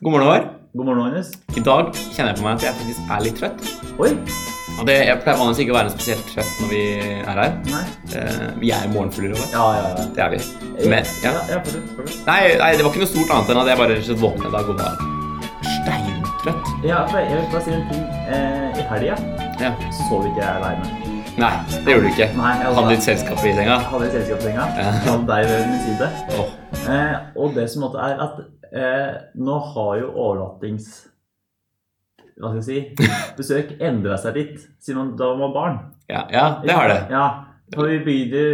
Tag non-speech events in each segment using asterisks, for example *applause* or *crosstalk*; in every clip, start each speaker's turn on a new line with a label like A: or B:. A: God morgen, Håvard.
B: God morgen, Agnes.
A: I dag kjenner jeg på meg at jeg faktisk er litt trøtt.
B: Oi!
A: Og det, Jeg pleier vanligvis ikke å være spesielt trøtt når vi er her.
B: Nei.
A: Eh, vi er morgenfugler, Håvard.
B: Ja, ja, ja.
A: Det er vi. Men, ja.
B: ja, ja fortsett, fortsett.
A: nei, nei, det var ikke noe stort annet enn at jeg bare rett og slett våkna i dag og var steintrøtt.
B: Ja, for jeg vil bare si en ting. Eh, I helga
A: Ja.
B: så sov ikke jeg aleine.
A: Nei, det gjorde du ikke.
B: Nei, altså. jeg var-
A: Hadde litt selskap i senga.
B: Jeg hadde selskapssenga.
A: Ja.
B: Jeg hadde deg ved min side.
A: Åh,
B: Eh, og det som måtte er at eh, nå har jo overnattings... Hva skal
A: *laughs*
B: jeg si? Besøk endra seg litt siden man- da man var barn.
A: ja, ja, det har det.
B: Ja, for vi bygde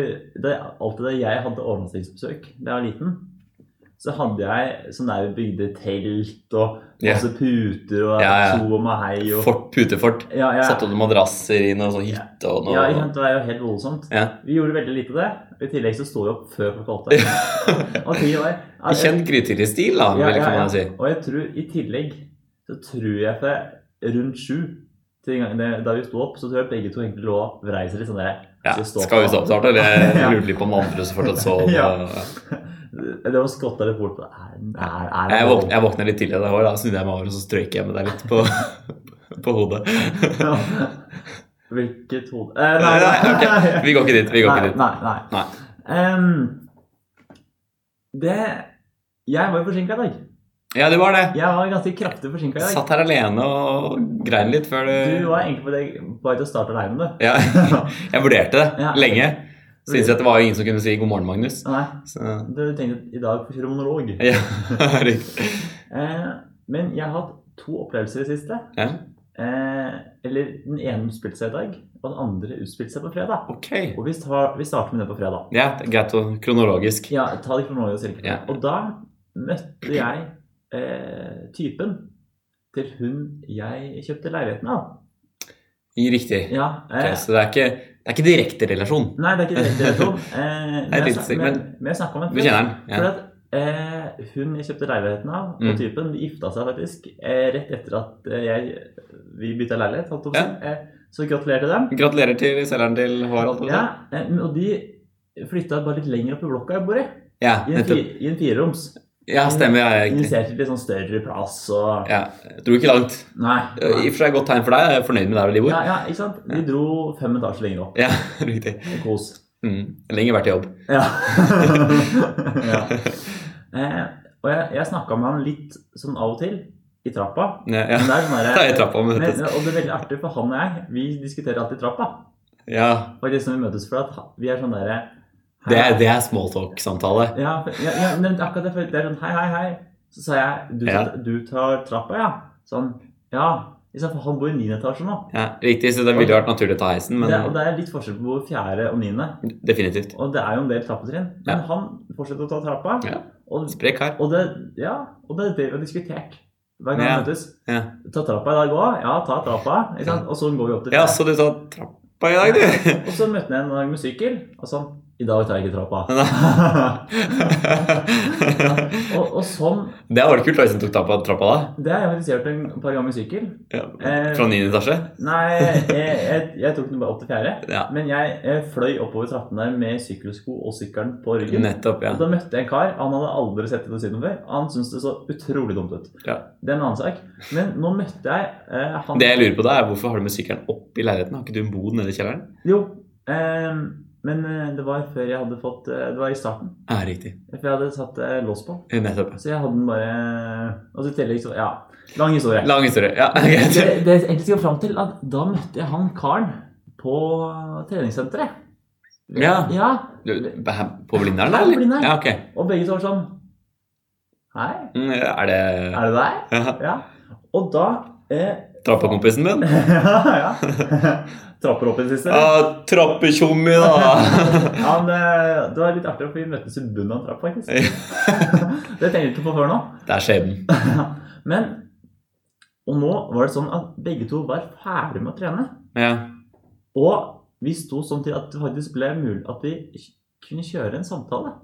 B: det, er Alltid da jeg hadde overnattingsbesøk da jeg var liten, så hadde jeg sånn der vi bygde telt og
A: Ja.
B: masse puter og
A: Ja, ja.
B: to og meg hei og
A: Fort, putefort.
B: ja, ja,
A: Satte du madrasser i noe sånn hytte og
B: ja, ikke
A: noe
B: sant, det var jo helt voldsomt.
A: Ja. *laughs*
B: Vi gjorde veldig lite av det. og I tillegg så sto vi opp før klokka åtte. Og tiden var
A: *laughs* I kjent grytidlig stil, da,
B: Ja,
A: vel,
B: ja,
A: kan
B: ja.
A: man si.
B: Og jeg tror i tillegg så tror jeg at det rundt sju til den gangen det- da vi sto opp, så tror jeg begge to egentlig lå og vrei seg litt sånn der.
A: Ja,
B: Så stå på.
A: skal vi stå opp snart, eller? Jeg
B: *laughs* Ja.
A: lurte litt på om andre som fortsatt sov. og-
B: Ja. Det var skotta litt bort på er, er, er det
A: Jeg,
B: lov?
A: våkna, jeg våkna litt tidligere det året, da snudde jeg meg over og så strøyk jeg med deg litt på, på *laughs* hodet.
B: Ja. *laughs* Hvilket hode eh,
A: Nei, nei, ok. Vi går ikke dit. Vi går ikke dit.
B: Nei, nei. nei. Em, det Jeg var jo forsinka i dag.
A: Ja, du var det.
B: Jeg var ganske kraftig forsinka i dag.
A: Satt her alene og grein litt før
B: Du
A: du
B: var egentlig på deg bare til å starte
A: *laughs*
B: aleine, du.
A: ja, Jeg vurderte det
B: Ja.
A: lenge. Syntes at det var jo ingen som kunne si 'god morgen, Magnus'.
B: Nei,
A: Så,
B: du tenkte i dag på kjøre monolog.
A: ja, *laughs* riktig.
B: Eh, men jeg har hatt to opplevelser i det siste.
A: Ja.
B: Eh, eller den ene utspilte seg i dag, og den andre utspilte seg på fredag.
A: Ok.
B: Og vi, tar, vi starter med det på fredag.
A: Ja, det er greit og kronologisk.
B: Ja, ta det kronologisk riktig.
A: Ja.
B: Og da møtte jeg eh, typen til hun jeg kjøpte leiligheten av.
A: Riktig.
B: Ja, eh,
A: Ok, så det er ikke, det er ikke direkte relasjon.
B: Nei, det er ikke det dere
A: *laughs*
B: to. Eh, men
A: et
B: jeg
A: lite
B: snak-
A: segment.
B: men- Men jeg snakka om en
A: Du kjenner den?
B: For
A: Ja.
B: at eh, hun jeg kjøpte leiligheten av,
A: Mm.
B: og typen, de gifta seg faktisk eh, rett etter at eh, jeg, vi bytta leilighet. Holdt jeg på å si. eh, så gratulerer til dem.
A: Gratulerer til selgeren til Harald.
B: Ja, eh, men- og de flytta bare litt lenger opp i blokka jeg bor i.
A: ja,
B: I en, fi,
A: nettopp.
B: i en fireroms.
A: Ja, stemmer. Ja, riktig.
B: Inviterte til litt sånn større plass og
A: Ja, jeg dro ikke langt.
B: Nei.
A: I og for seg godt tegn for deg. Jeg er fornøyd med der hvor de bor.
B: Ja, ja, ikke sant? De dro fem etasjer lenger opp.
A: Ja, *laughs* riktig.
B: Kos.
A: Mm. Lenge vært i jobb. *laughs*
B: Ja. ja. Eh, og jeg, jeg snakka med han litt sånn av og til i trappa.
A: Ja, ja. *laughs*
B: Men det er sånn
A: Da er
B: der,
A: jeg i trappa med
B: men,
A: dette.
B: og det er veldig artig, for han og jeg vi diskuterer alltid i trappa.
A: Ja,
B: Faktisk når vi møtes, for at vi er sånn derre
A: det er, det er smalltalk-samtale.
B: Ja, for- ja, ja, men akkurat det, for det er sånn hei, hei, hei. Så sa jeg du,
A: Ja.
B: du tar trappa, ja? Sånn. Ja. Ikke sant, for han bor i niende etasje nå.
A: Ja, riktig, så det ville vært naturlig å ta heisen,
B: Det, og
A: men
B: det er litt forskjell på hvor fjerde og niende.
A: definitivt.
B: Og det er jo en del trappetrinn. Men
A: Ja.
B: han fortsetter å ta trappa.
A: Ja.
B: Og
A: Sprek kar.
B: Og det, ja, og det er det vi har diskutert hver gang
A: Ja,
B: vi møtes.
A: ja.
B: Ta trappa i dag òg. Ja, ta trappa. Ikke sant? Og så går vi opp til
A: Ja, så du tar trappa i dag, du? *laughs*
B: Og så møtte jeg en dag med sykkel, og sånn I dag tar jeg ikke trappa. *laughs* og, og sånn
A: Det var det kult da, hvis du tok trappa, trappa da.
B: Det har jeg faktisk gjort en par ganger med sykkel.
A: Ja.
B: Eh,
A: Fra 9. etasje.
B: Nei, jeg, jeg, jeg tok den bare opp til fjerde.
A: Ja.
B: Men jeg, eh, fløy oppover trappene med sykkelsko og sykkelen på ryggen.
A: Nettopp, ja.
B: Og Da møtte jeg en kar. Han hadde aldri sett det siden før. Han syntes det så utrolig dumt ut.
A: Ja.
B: Det er en annen sak. Men nå møtte jeg eh, han
A: Det jeg lurer på da, er hvorfor har du med sykkelen opp i leiligheten? Har ikke du en bod nede i kjelleren?
B: Jo, eh, men eh, det var før jeg hadde fått eh, Det var i starten.
A: Ja, Ah, riktig.
B: For jeg hadde satt eh, lås på.
A: Nettopp.
B: Så jeg hadde den bare eh, Og så i tillegg så Ja. Lang historie.
A: Lang historie. *laughs* Ja,
B: Det,
A: greit.
B: det jeg egentlig skal fram til, at da møtte jeg han karen på treningssenteret.
A: Ja.
B: Ja,
A: Du, her På Blindern, da?
B: Her på
A: eller?
B: Blindern.
A: Ja, ok.
B: Og begge to var sånn Hei,
A: Mm, Er det
B: er det deg?
A: ja.
B: Ja. Og da eh,
A: trappekompisen
B: *laughs*
A: min?
B: ja, ja. Trapper opp i det siste.
A: Ja, trappetjommi, da! *laughs*
B: Ja, men eh, det var litt artig, for vi møttes i bunnen av en trapp, faktisk. *laughs* Det tenkte jeg ikke på før nå.
A: Det er skjebnen.
B: Men Og nå var det sånn at begge to var ferdig med å trene.
A: Ja.
B: Og vi sto sånn til at det faktisk ble mulig at vi k- kunne kjøre en samtale.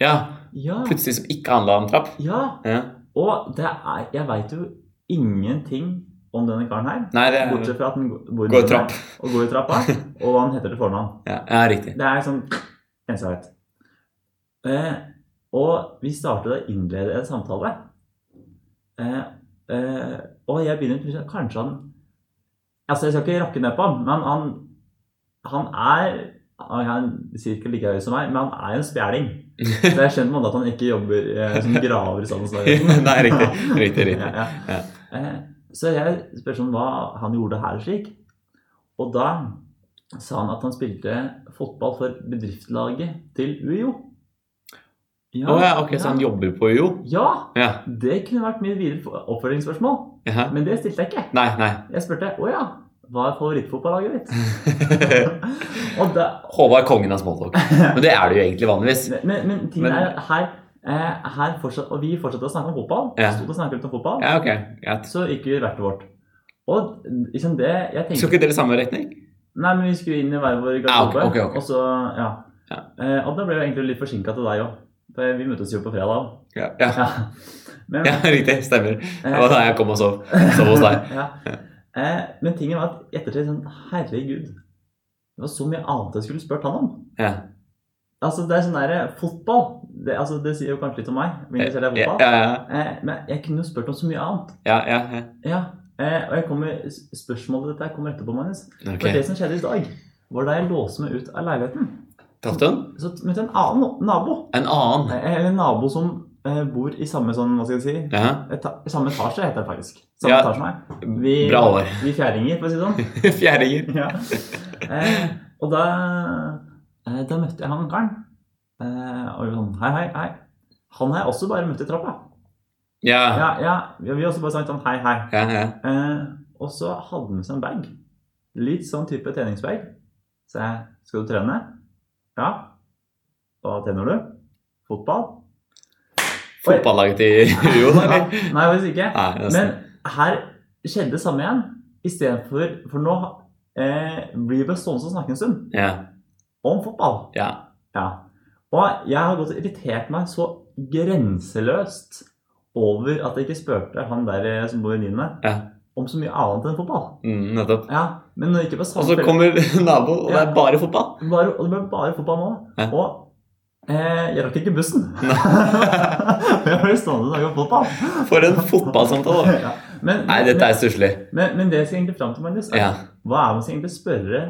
A: ja.
B: Ja.
A: Plutselig som ikke handla om trapp.
B: ja.
A: Ja.
B: Og det er Jeg veit jo ingenting om denne karen her.
A: Nei, det er
B: Bortsett fra at han går- bor
A: Går i trapp.
B: Og går i trappa. Og hva han heter til fornavn.
A: Ja, ja riktig.
B: Det er sånn eneste jeg vet. Eh, og vi startet å innlede en samtale. Eh, eh, og jeg begynner å tro at kanskje han Altså, jeg skal ikke rakke ned på han, men han, han er han er cirka like høy som meg, men han er en spjæling.
A: *laughs*
B: Så jeg skjønner på en måte at han ikke jobber eh, som graver i sanden.
A: *laughs* Nei, riktig. Riktig, riktig.
B: *laughs* Ja, ja. Eh, Så jeg spør sånn hva han gjorde her slik. Og da sa han at han spilte fotball for bedriftslaget til E UiO.
A: Å ja, ok, så han jobber på UiO?
B: Ja!
A: Ja.
B: Det kunne vært mye videre oppfølgingsspørsmål,
A: Jaha.
B: men det stilte jeg ikke.
A: Nei, nei. *laughs*
B: Jeg spurte å ja, hva er favorittfotballaget ditt? og da,
A: Håvard er kongen av smalltalk. Men det er det jo egentlig vanligvis.
B: men, men ting
A: Men-
B: er her, eh, her fortsatt, Og vi fortsatte å snakke om fotball.
A: Ja.
B: Stod og snakket litt om fotball.
A: Ja, ok. Greit.
B: Så gikk vi hvert vårt. Og liksom det jeg tenkte
A: Skal ikke dere i samme retning?
B: Nei, men vi skulle inn i hver vår garderobe.
A: Ah, ok, ok, ok.
B: Og så, ja.
A: Ja.
B: Eh, og da ble jeg egentlig litt forsinka til deg òg. For vi møtes jo på fredag òg.
A: Ja, ja.
B: Ja. *laughs* Men,
A: ja riktig. Stemmer.
B: eh,
A: Det var da jeg kom og sov. Sov hos deg.
B: ja. eh, men tingen var at i ettertid sånn Herregud. Det var så mye annet jeg skulle spurt han om.
A: Ja.
B: Altså, det er sånn der, Fotball det, altså, det sier jo kanskje litt om meg. Min
A: Ja,
B: kjære
A: ja,
B: fotball.
A: ja,
B: Eh, men jeg kunne jo spurt om så mye annet.
A: ja, ja, ja.
B: Ja. Eh, og jeg kommer, s- spørsmålet dette her kommer etterpå, Magnus.
A: Ok.
B: For det som skjedde i dag, var da jeg låste meg ut av leiligheten.
A: Traff du den?
B: Så møtte jeg en annen no- nabo.
A: En annen?
B: Eh, Eller en nabo som eh, bor i samme sånn, hva skal jeg si
A: Ja.
B: Eta Samme etasje, heter det faktisk. Samme
A: Ja.
B: etasje som meg. Vi-
A: Bra
B: *laughs*
A: år.
B: Vi fjæringer, for å si det sånn.
A: *laughs* Fjæringer.
B: ja. eh, og da, eh, da møtte jeg han karen. Eh, og vi var sånn hei, hei, hei. Han har jeg også bare møtt i trappa.
A: Ja.
B: Ja, ja, vi har også bare sagt sånn hei, hei.
A: Ja, ja.
B: Eh, og så hadde han med seg en bag. Litt sånn type treningsbag. Så jeg skal du trene? Ja. Hva trener du? Fotball?
A: Fotballaget til UiO,
B: *laughs* Ja.
A: eller?
B: Nei, hvis ikke.
A: Nei, nesten.
B: Men her skjedde det samme igjen. Istedenfor For nå eh, blir vi stående og snakke en stund.
A: Ja.
B: om fotball.
A: Ja.
B: Ja. Og jeg har gått og irritert meg så grenseløst over at jeg ikke spurte han der eh, som bor i niende,
A: Ja.
B: om så mye annet enn fotball.
A: Mm, nettopp.
B: Ja, Men når jeg ikke
A: Og
B: på samme
A: så
B: felt-
A: kommer *laughs* naboen, og det er bare fotball.
B: bare, Og det ble bare fotball nå.
A: Ja.
B: Og eh, jeg rakk ikke bussen.
A: Nei.
B: *laughs* jeg ble stående og snakke om fotball.
A: For en fotballsamtale.
B: Ja. Men,
A: Nei, dette er stusslig.
B: men, men det jeg skal egentlig fram til, Magnus, er
A: Ja.
B: Hva er det man skal egentlig spørre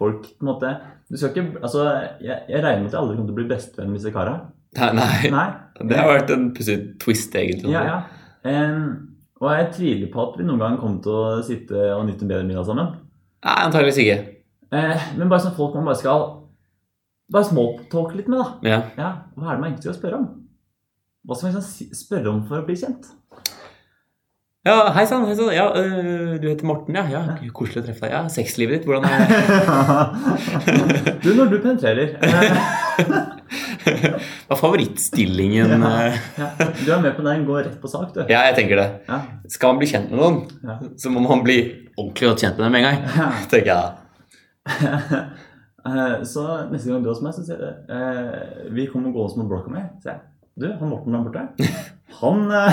B: folk på en måte? Du skal ikke, altså, jeg, jeg regner med at jeg aldri kommer til å bli bestevenn med disse kara.
A: Nei, nei.
B: Nei.
A: Det har vært en pussig twist, egentlig.
B: Ja, ja. Em, og jeg tviler på at vi noen gang kommer til å sitte og nyte en bedre middag sammen.
A: Nei, antageligvis ikke.
B: Eh, men bare sånn folk man bare skal bare småtalke litt med, da.
A: Ja.
B: Ja, Hva er det man egentlig skal spørre om? Hva skal man liksom si- spørre om for å bli kjent?
A: ja hei sann, hei sann. Ja, øh, du heter Morten, ja. ja. Koselig å treffe deg. Ja, Sexlivet ditt, hvordan er
B: du, når du penetrerer eh,
A: Hva er favorittstillingen?
B: Ja.
A: eh?
B: ja, Du er med på den, går rett på sak, du.
A: Ja, jeg tenker det.
B: Ja.
A: Skal man bli kjent med noen,
B: Ja.
A: så må man bli ordentlig godt kjent med dem med en gang. *laughs* Tenker jeg da.
B: *laughs* Eh, Så neste gang du er hos meg, så sier jeg eh, Vi kommer gående som en blokk av meg. Sier jeg. Du, han Morten der borte.
A: *laughs*
B: Han eh,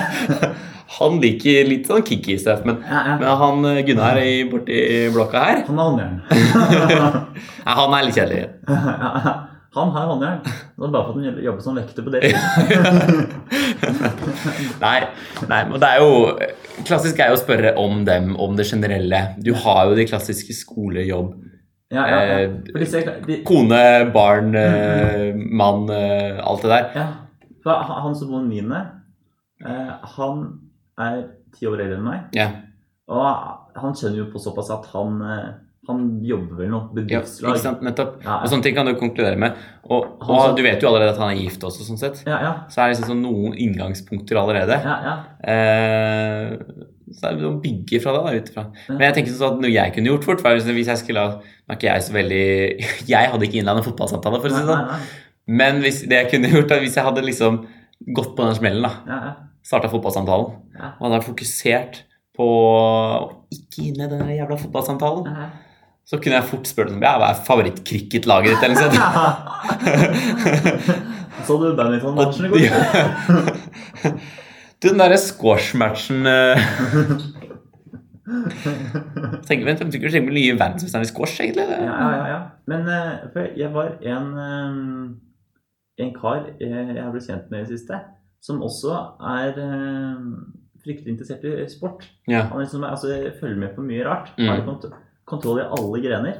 A: Han liker litt sånn kicky stuff, men,
B: ja, ja,
A: men han eh, Gunnar i- borti blokka her, *laughs*
B: Han har håndjern.
A: ja, han er litt kjedelig. *laughs*
B: Ja, han har håndjern. Det er bare for at han jobber som vekter på det.
A: Nei, nei, men det er jo Klassisk er jo å spørre om dem, om det generelle. Du har jo de klassiske skolejobb. eh,
B: Ja, ja, ja. For disse, de,
A: Kone, barn, eh, mann, eh, alt det der.
B: ja. For han han som bor i niende, eh, han er ti år eldre enn meg.
A: Ja.
B: Og han skjønner jo på såpass at han, eh, han jobber vel noe
A: ja ikke
B: bedriftslag.
A: sant, nettopp.
B: Ja,
A: Og sånn- sånne ting kan du konkludere med. Og, og du vet jo allerede at han er gift også, sånn sett.
B: ja, ja,
A: Så er det liksom sånn noen inngangspunkter allerede.
B: ja, ja.
A: Eh, så er det noe å bygge fra det da, ut ifra. Men jeg tenker sånn at noe jeg kunne gjort fort, var hvis hvis jeg skulle ha Nå er ikke jeg så veldig *laughs* Jeg hadde ikke innlandet fotballsamtale, for å si
B: Nei,
A: det
B: nei,
A: sånn.
B: nei.
A: Men hvis, det jeg kunne *laughs* gjort, er hvis jeg hadde liksom gått på den smellen, da,
B: Ja, ja.
A: starta fotballsamtalen,
B: Ja.
A: og hadde vært fokusert på å ikke inn i den der jævla fotballsamtalen,
B: Ja,
A: så kunne jeg fort spurt om ja, hva er favorittcricketlaget ditt,
B: *laughs*
A: eller noe sånt.
B: Så du badminton-matchen i går?
A: Ja. Du, *laughs* den derre squash-matchen eh, Tenker vi tenker vi trenger nye verdensmesteren i squash, egentlig?
B: Ja,
A: Eller?
B: ja, ja, ja. Men eh, for jeg var en, eh, en kar eh, jeg har blitt kjent med i det siste, som også er eh, fryktelig interessert i sport.
A: Ja.
B: Han er liksom, altså, følger med på mye rart.
A: Mm.
B: Har litt kont kontroll i alle grener.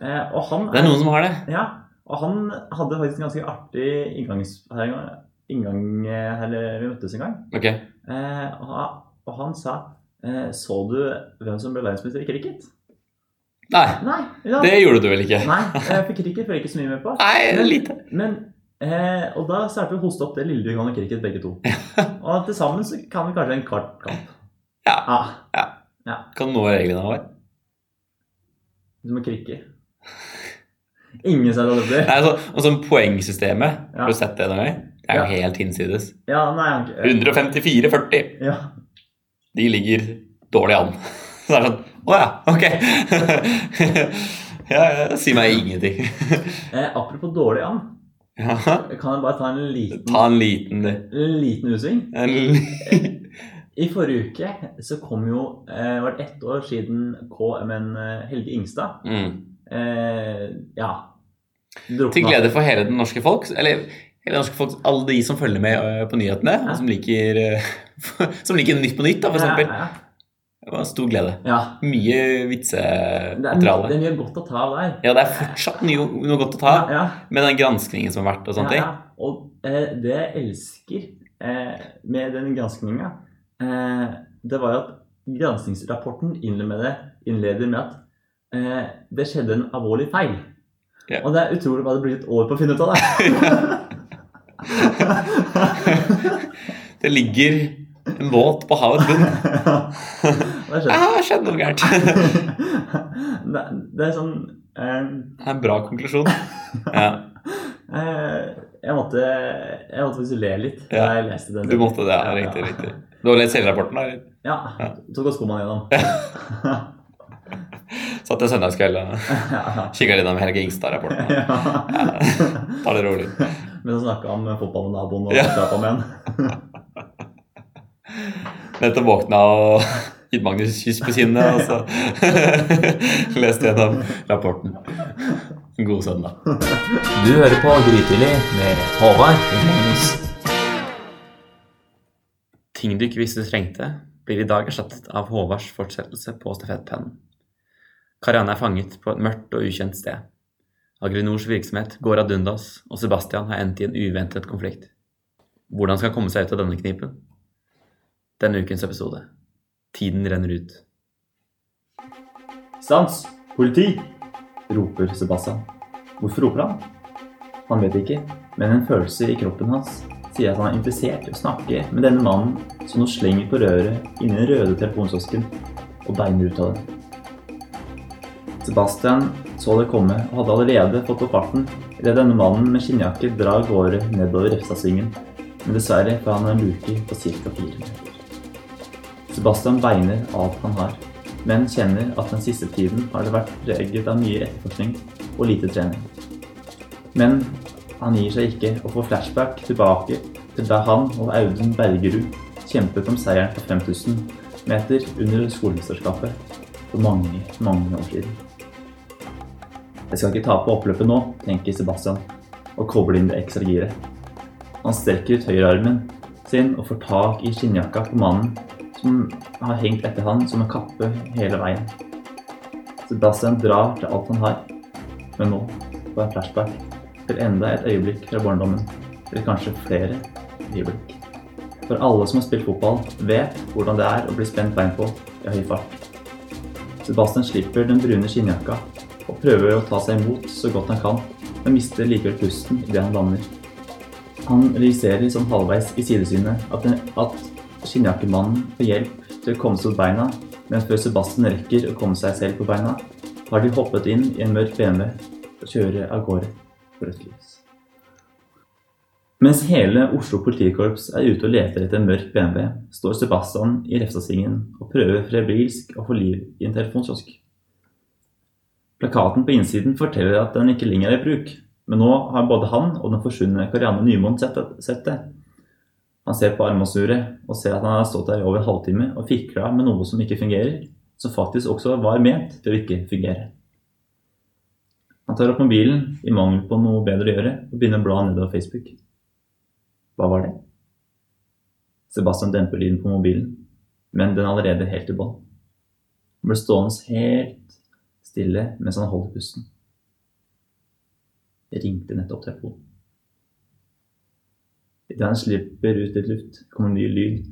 B: Eh, og han
A: Det er noen som har det.
B: Ja, og han hadde faktisk en ganske artig inngangs... her en gang- inngang eh, eller vi møttes en gang.
A: Ok.
B: Eh, og, ha- og han sa eh, Så du hvem som ble verdensmester i cricket?
A: Nei,
B: Nei, ja.
A: det gjorde du vel ikke?
B: Nei, eh, for cricket følger jeg ikke så mye med på.
A: Nei, det er lite.
B: Men, eh, og da startet vi å hoste opp det lille vi kan om cricket, begge to. *laughs* Og til sammen så kan vi kanskje en kvart kamp.
A: Ja.
B: Ah,
A: Kan nå reglene våre.
B: du må krikke. Ingen ser det
A: Nei, altså, og sånn poengsystemet,
B: Ja.
A: har du sett det noen gang? Det er jo helt hinsides.
B: Ja, nei, han ikke-
A: 154-40,
B: ja.
A: de ligger dårlig an. *laughs* Så det er sånn, å ja, ok. *laughs* ja, ja, det sier meg ingenting. *laughs*
B: Eh, apropos dårlig an,
A: Ja,
B: kan jeg bare ta en liten,
A: ta en liten, eh,
B: liten utsving?
A: en li-
B: I forrige uke så kom jo eh, var det ett år siden KMN eh, Helge Ingstad
A: mm.
B: eh, Ja. Drukna.
A: Til glede for hele den norske folk, eller hele det norske folk, alle de som følger med øh, på nyhetene,
B: Ja.
A: og som liker, øh, *laughs* som liker Nytt på Nytt, da, for eksempel.
B: Ja, ja,
A: Det var stor glede.
B: ja.
A: Mye
B: ja. Det, er, mye- det
A: vitsemateriale.
B: er mye godt å ta av der.
A: Ja, det er fortsatt mye, noe godt å ta
B: Ja, ja,
A: med den granskningen som har vært og sånne
B: ja, ja. Og eh, det jeg elsker eh, med den granskninga, eh, det var jo at granskingsrapporten innleder med, det, innleder med at eh, det skjedde en alvorlig feil.
A: Ja.
B: Og det er utrolig hva det *laughs* blir et år på å finne
A: *laughs*
B: ut av det.
A: ting. Det ligger en båt på havets bunn.
B: det
A: Ja,
B: skjedde. *laughs*
A: det skjedde noe gærent. *laughs* Det
B: det, det er sånn eh,
A: er en bra konklusjon. Ja,
B: eh, jeg, måtte, jeg måtte faktisk le litt da
A: Ja.
B: jeg leste den.
A: du måtte det. Ja, riktig, riktig. Du har lest hele rapporten, da? eller?
B: Ja.
A: Ja.
B: Tok oss skoene gjennom.
A: Satt en søndagskveld og
B: *laughs* ja.
A: kikka litt om Helge Ingstad-rapporten.
B: *laughs*
A: Ta det rolig.
B: Men så snakka han med fotball med naboen og
A: Ja.
B: prata med han.
A: Nettopp våkna og *laughs* gitt Magnus kyss på kinnet, og så *laughs* leste gjennom rapporten. God søndag.
B: Du hører på Grytidlig med Håvard
A: Ting du ikke visste du trengte, blir i dag erstattet av Håvards fortsettelse på stafettpennen. Karianne er fanget på et mørkt og ukjent sted. Agrinors virksomhet går ad undas, og Sebastian har endt i en uventet konflikt. Hvordan skal han komme seg ut av denne knipen? Denne ukens episode. Tiden renner ut.
B: Stans! Politi! roper Sebastian. Hvorfor roper han? Han vet ikke, men en følelse i kroppen hans sier at han er interessert i å snakke med denne mannen som nå slenger på røret inni den røde telefonkiosken og beiner ut av det. Sebastian så det komme og hadde allerede fått opp farten idet denne mannen med skinnjakke drar av gårde nedover Refstasvingen, men dessverre får han en luke på ca. fire meter. Sebastian beiner alt han har, men kjenner at den siste tiden har det vært preget av mye etterforskning og lite trening. Men han gir seg ikke og får flashback tilbake til da han og Audun Bergerud kjempet om seieren på 5000 meter under skolemesterskapet for mange, mange år siden. Jeg skal ikke tape oppløpet nå, tenker Sebastian og kobler inn det ekstra giret. Han strekker ut høyrearmen sin og får tak i skinnjakka på mannen som har hengt etter han som en kappe hele veien. Sebastian drar til alt han har, men nå får jeg flashback til enda et øyeblikk fra barndommen, eller kanskje flere øyeblikk. For alle som har spilt fotball, vet hvordan det er å bli spent bein på i høy fart. Sebastian slipper den brune skinnjakka og prøver å ta seg imot så godt han kan, men mister likevel pusten idet han lander. Han registrerer som halvveis i sidesynet at, den- at skinnjakkemannen får hjelp til å komme seg på beina, men før Sebastian rekker å komme seg selv på beina, har de hoppet inn i en mørk BMW og kjører av gårde for rødt lys. Mens hele Oslo politikorps er ute og leter etter en mørk BMW, står Sebastian i Refstasvingen og prøver febrilsk å få liv i en telefonkiosk. Plakaten på innsiden forteller at den ikke lenger er i bruk, men nå har både han og den forsvunne Karianne Nymoen sett det- sett det. Han ser på armbåndsuret og ser at han har stått der i over en halvtime og fikla med noe som ikke fungerer, som faktisk også var ment til å ikke fungere. Han tar opp mobilen i mangel på noe bedre å gjøre og begynner å bla nedover Facebook. Hva var det? Sebastian demper lyden på mobilen men den er allerede helt i bånn. Han ble stående helt stille mens han holdt pusten. Det ringte nettopp telefonen. Idet han slipper ut litt luft, kommer en ny lyd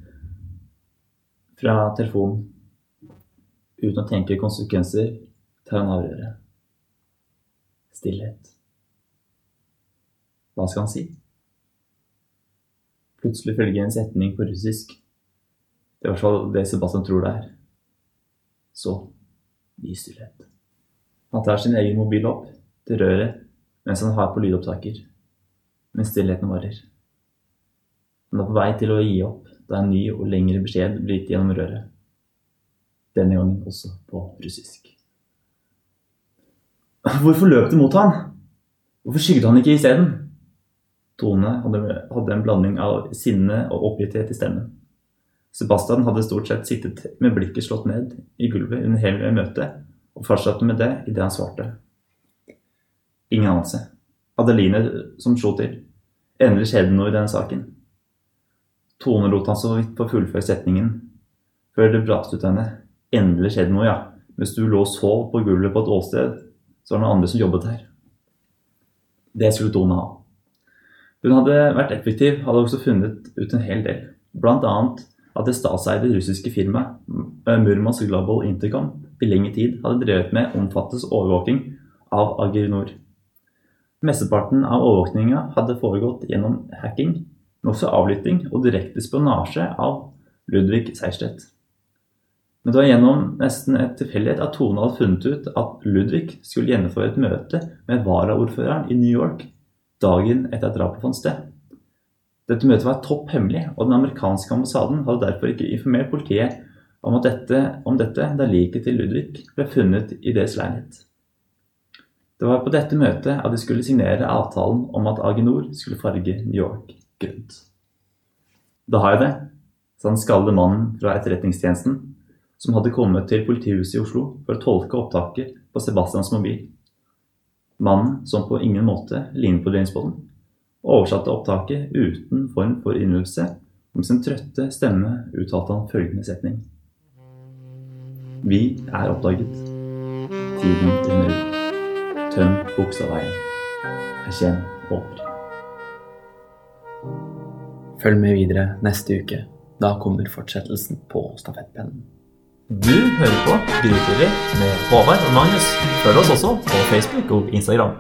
B: fra telefonen. Uten å tenke konsekvenser tar han avgjøret. Stillhet. Hva skal han si? Plutselig følger en setning på russisk. Det er i hvert fall det Sebastian tror det er. Så ny stillhet. Han tar sin egen mobil opp til røret mens han har på lydopptaker. Men stillheten varer. Han er på vei til å gi opp da en ny og lengre beskjed blir gitt gjennom røret. Denne gangen også på russisk. Hvorfor løp du mot han? Hvorfor skygget han ikke isteden? Tone hadde, hadde en blanding av sinne og oppgitthet i stemmen. Sebastian hadde stort sett sittet med blikket slått ned i gulvet under hele møtet, og fortsatte med det idet han svarte. Ingen anelse. Adeline som slo til. Endelig skjedde noe i denne saken. Tone lot han så vidt få fullføre setningen, før det braste ut henne. Endelig skjedde noe, ja. Mens du lå og sov på gulvet på et åsted, så var det noen andre som jobbet her. Det skulle Tone ha. Hun hadde vært effektiv, hadde også funnet ut en hel del. Blant annet at det statseide russiske firmaet Murmansk Global Intercom i lengre tid hadde drevet med omfattes overvåking av Agrinor. Mesteparten av overvåkninga hadde foregått gjennom hacking, men også avlytting og direkte spionasje av Ludvig Seierstedt. Men det var gjennom nesten et tilfeldighet at Tone hadde funnet ut at Ludvig skulle gjennomføre et møte med varaordføreren i New York dagen etter at drapet fant sted. Dette møtet var topp hemmelig, og den amerikanske ambassaden hadde derfor ikke informert politiet om, at dette, om dette da liket til Ludvig ble funnet i deres leilighet. Det var på dette møtet at de skulle signere avtalen om at Aginor skulle farge New York grønt. Da har jeg det, sa den skadede mannen fra Etterretningstjenesten, som hadde kommet til politihuset i Oslo for å tolke opptaket på Sebastians mobil. Mannen som på ingen måte lignet på James Bond, oversatte opptaket uten form for innlevelse, og med sin trøtte stemme uttalte han følgende setning. Vi er oppdaget. Tiden renner ut. Tøm Bogstadveien. Erkjenn over.
A: Følg med videre neste uke. Da kommer fortsettelsen på stafettpennen.
B: Du hører på Grytidlig med Håvard og Magnus. Følg oss også på Facebook og Instagram.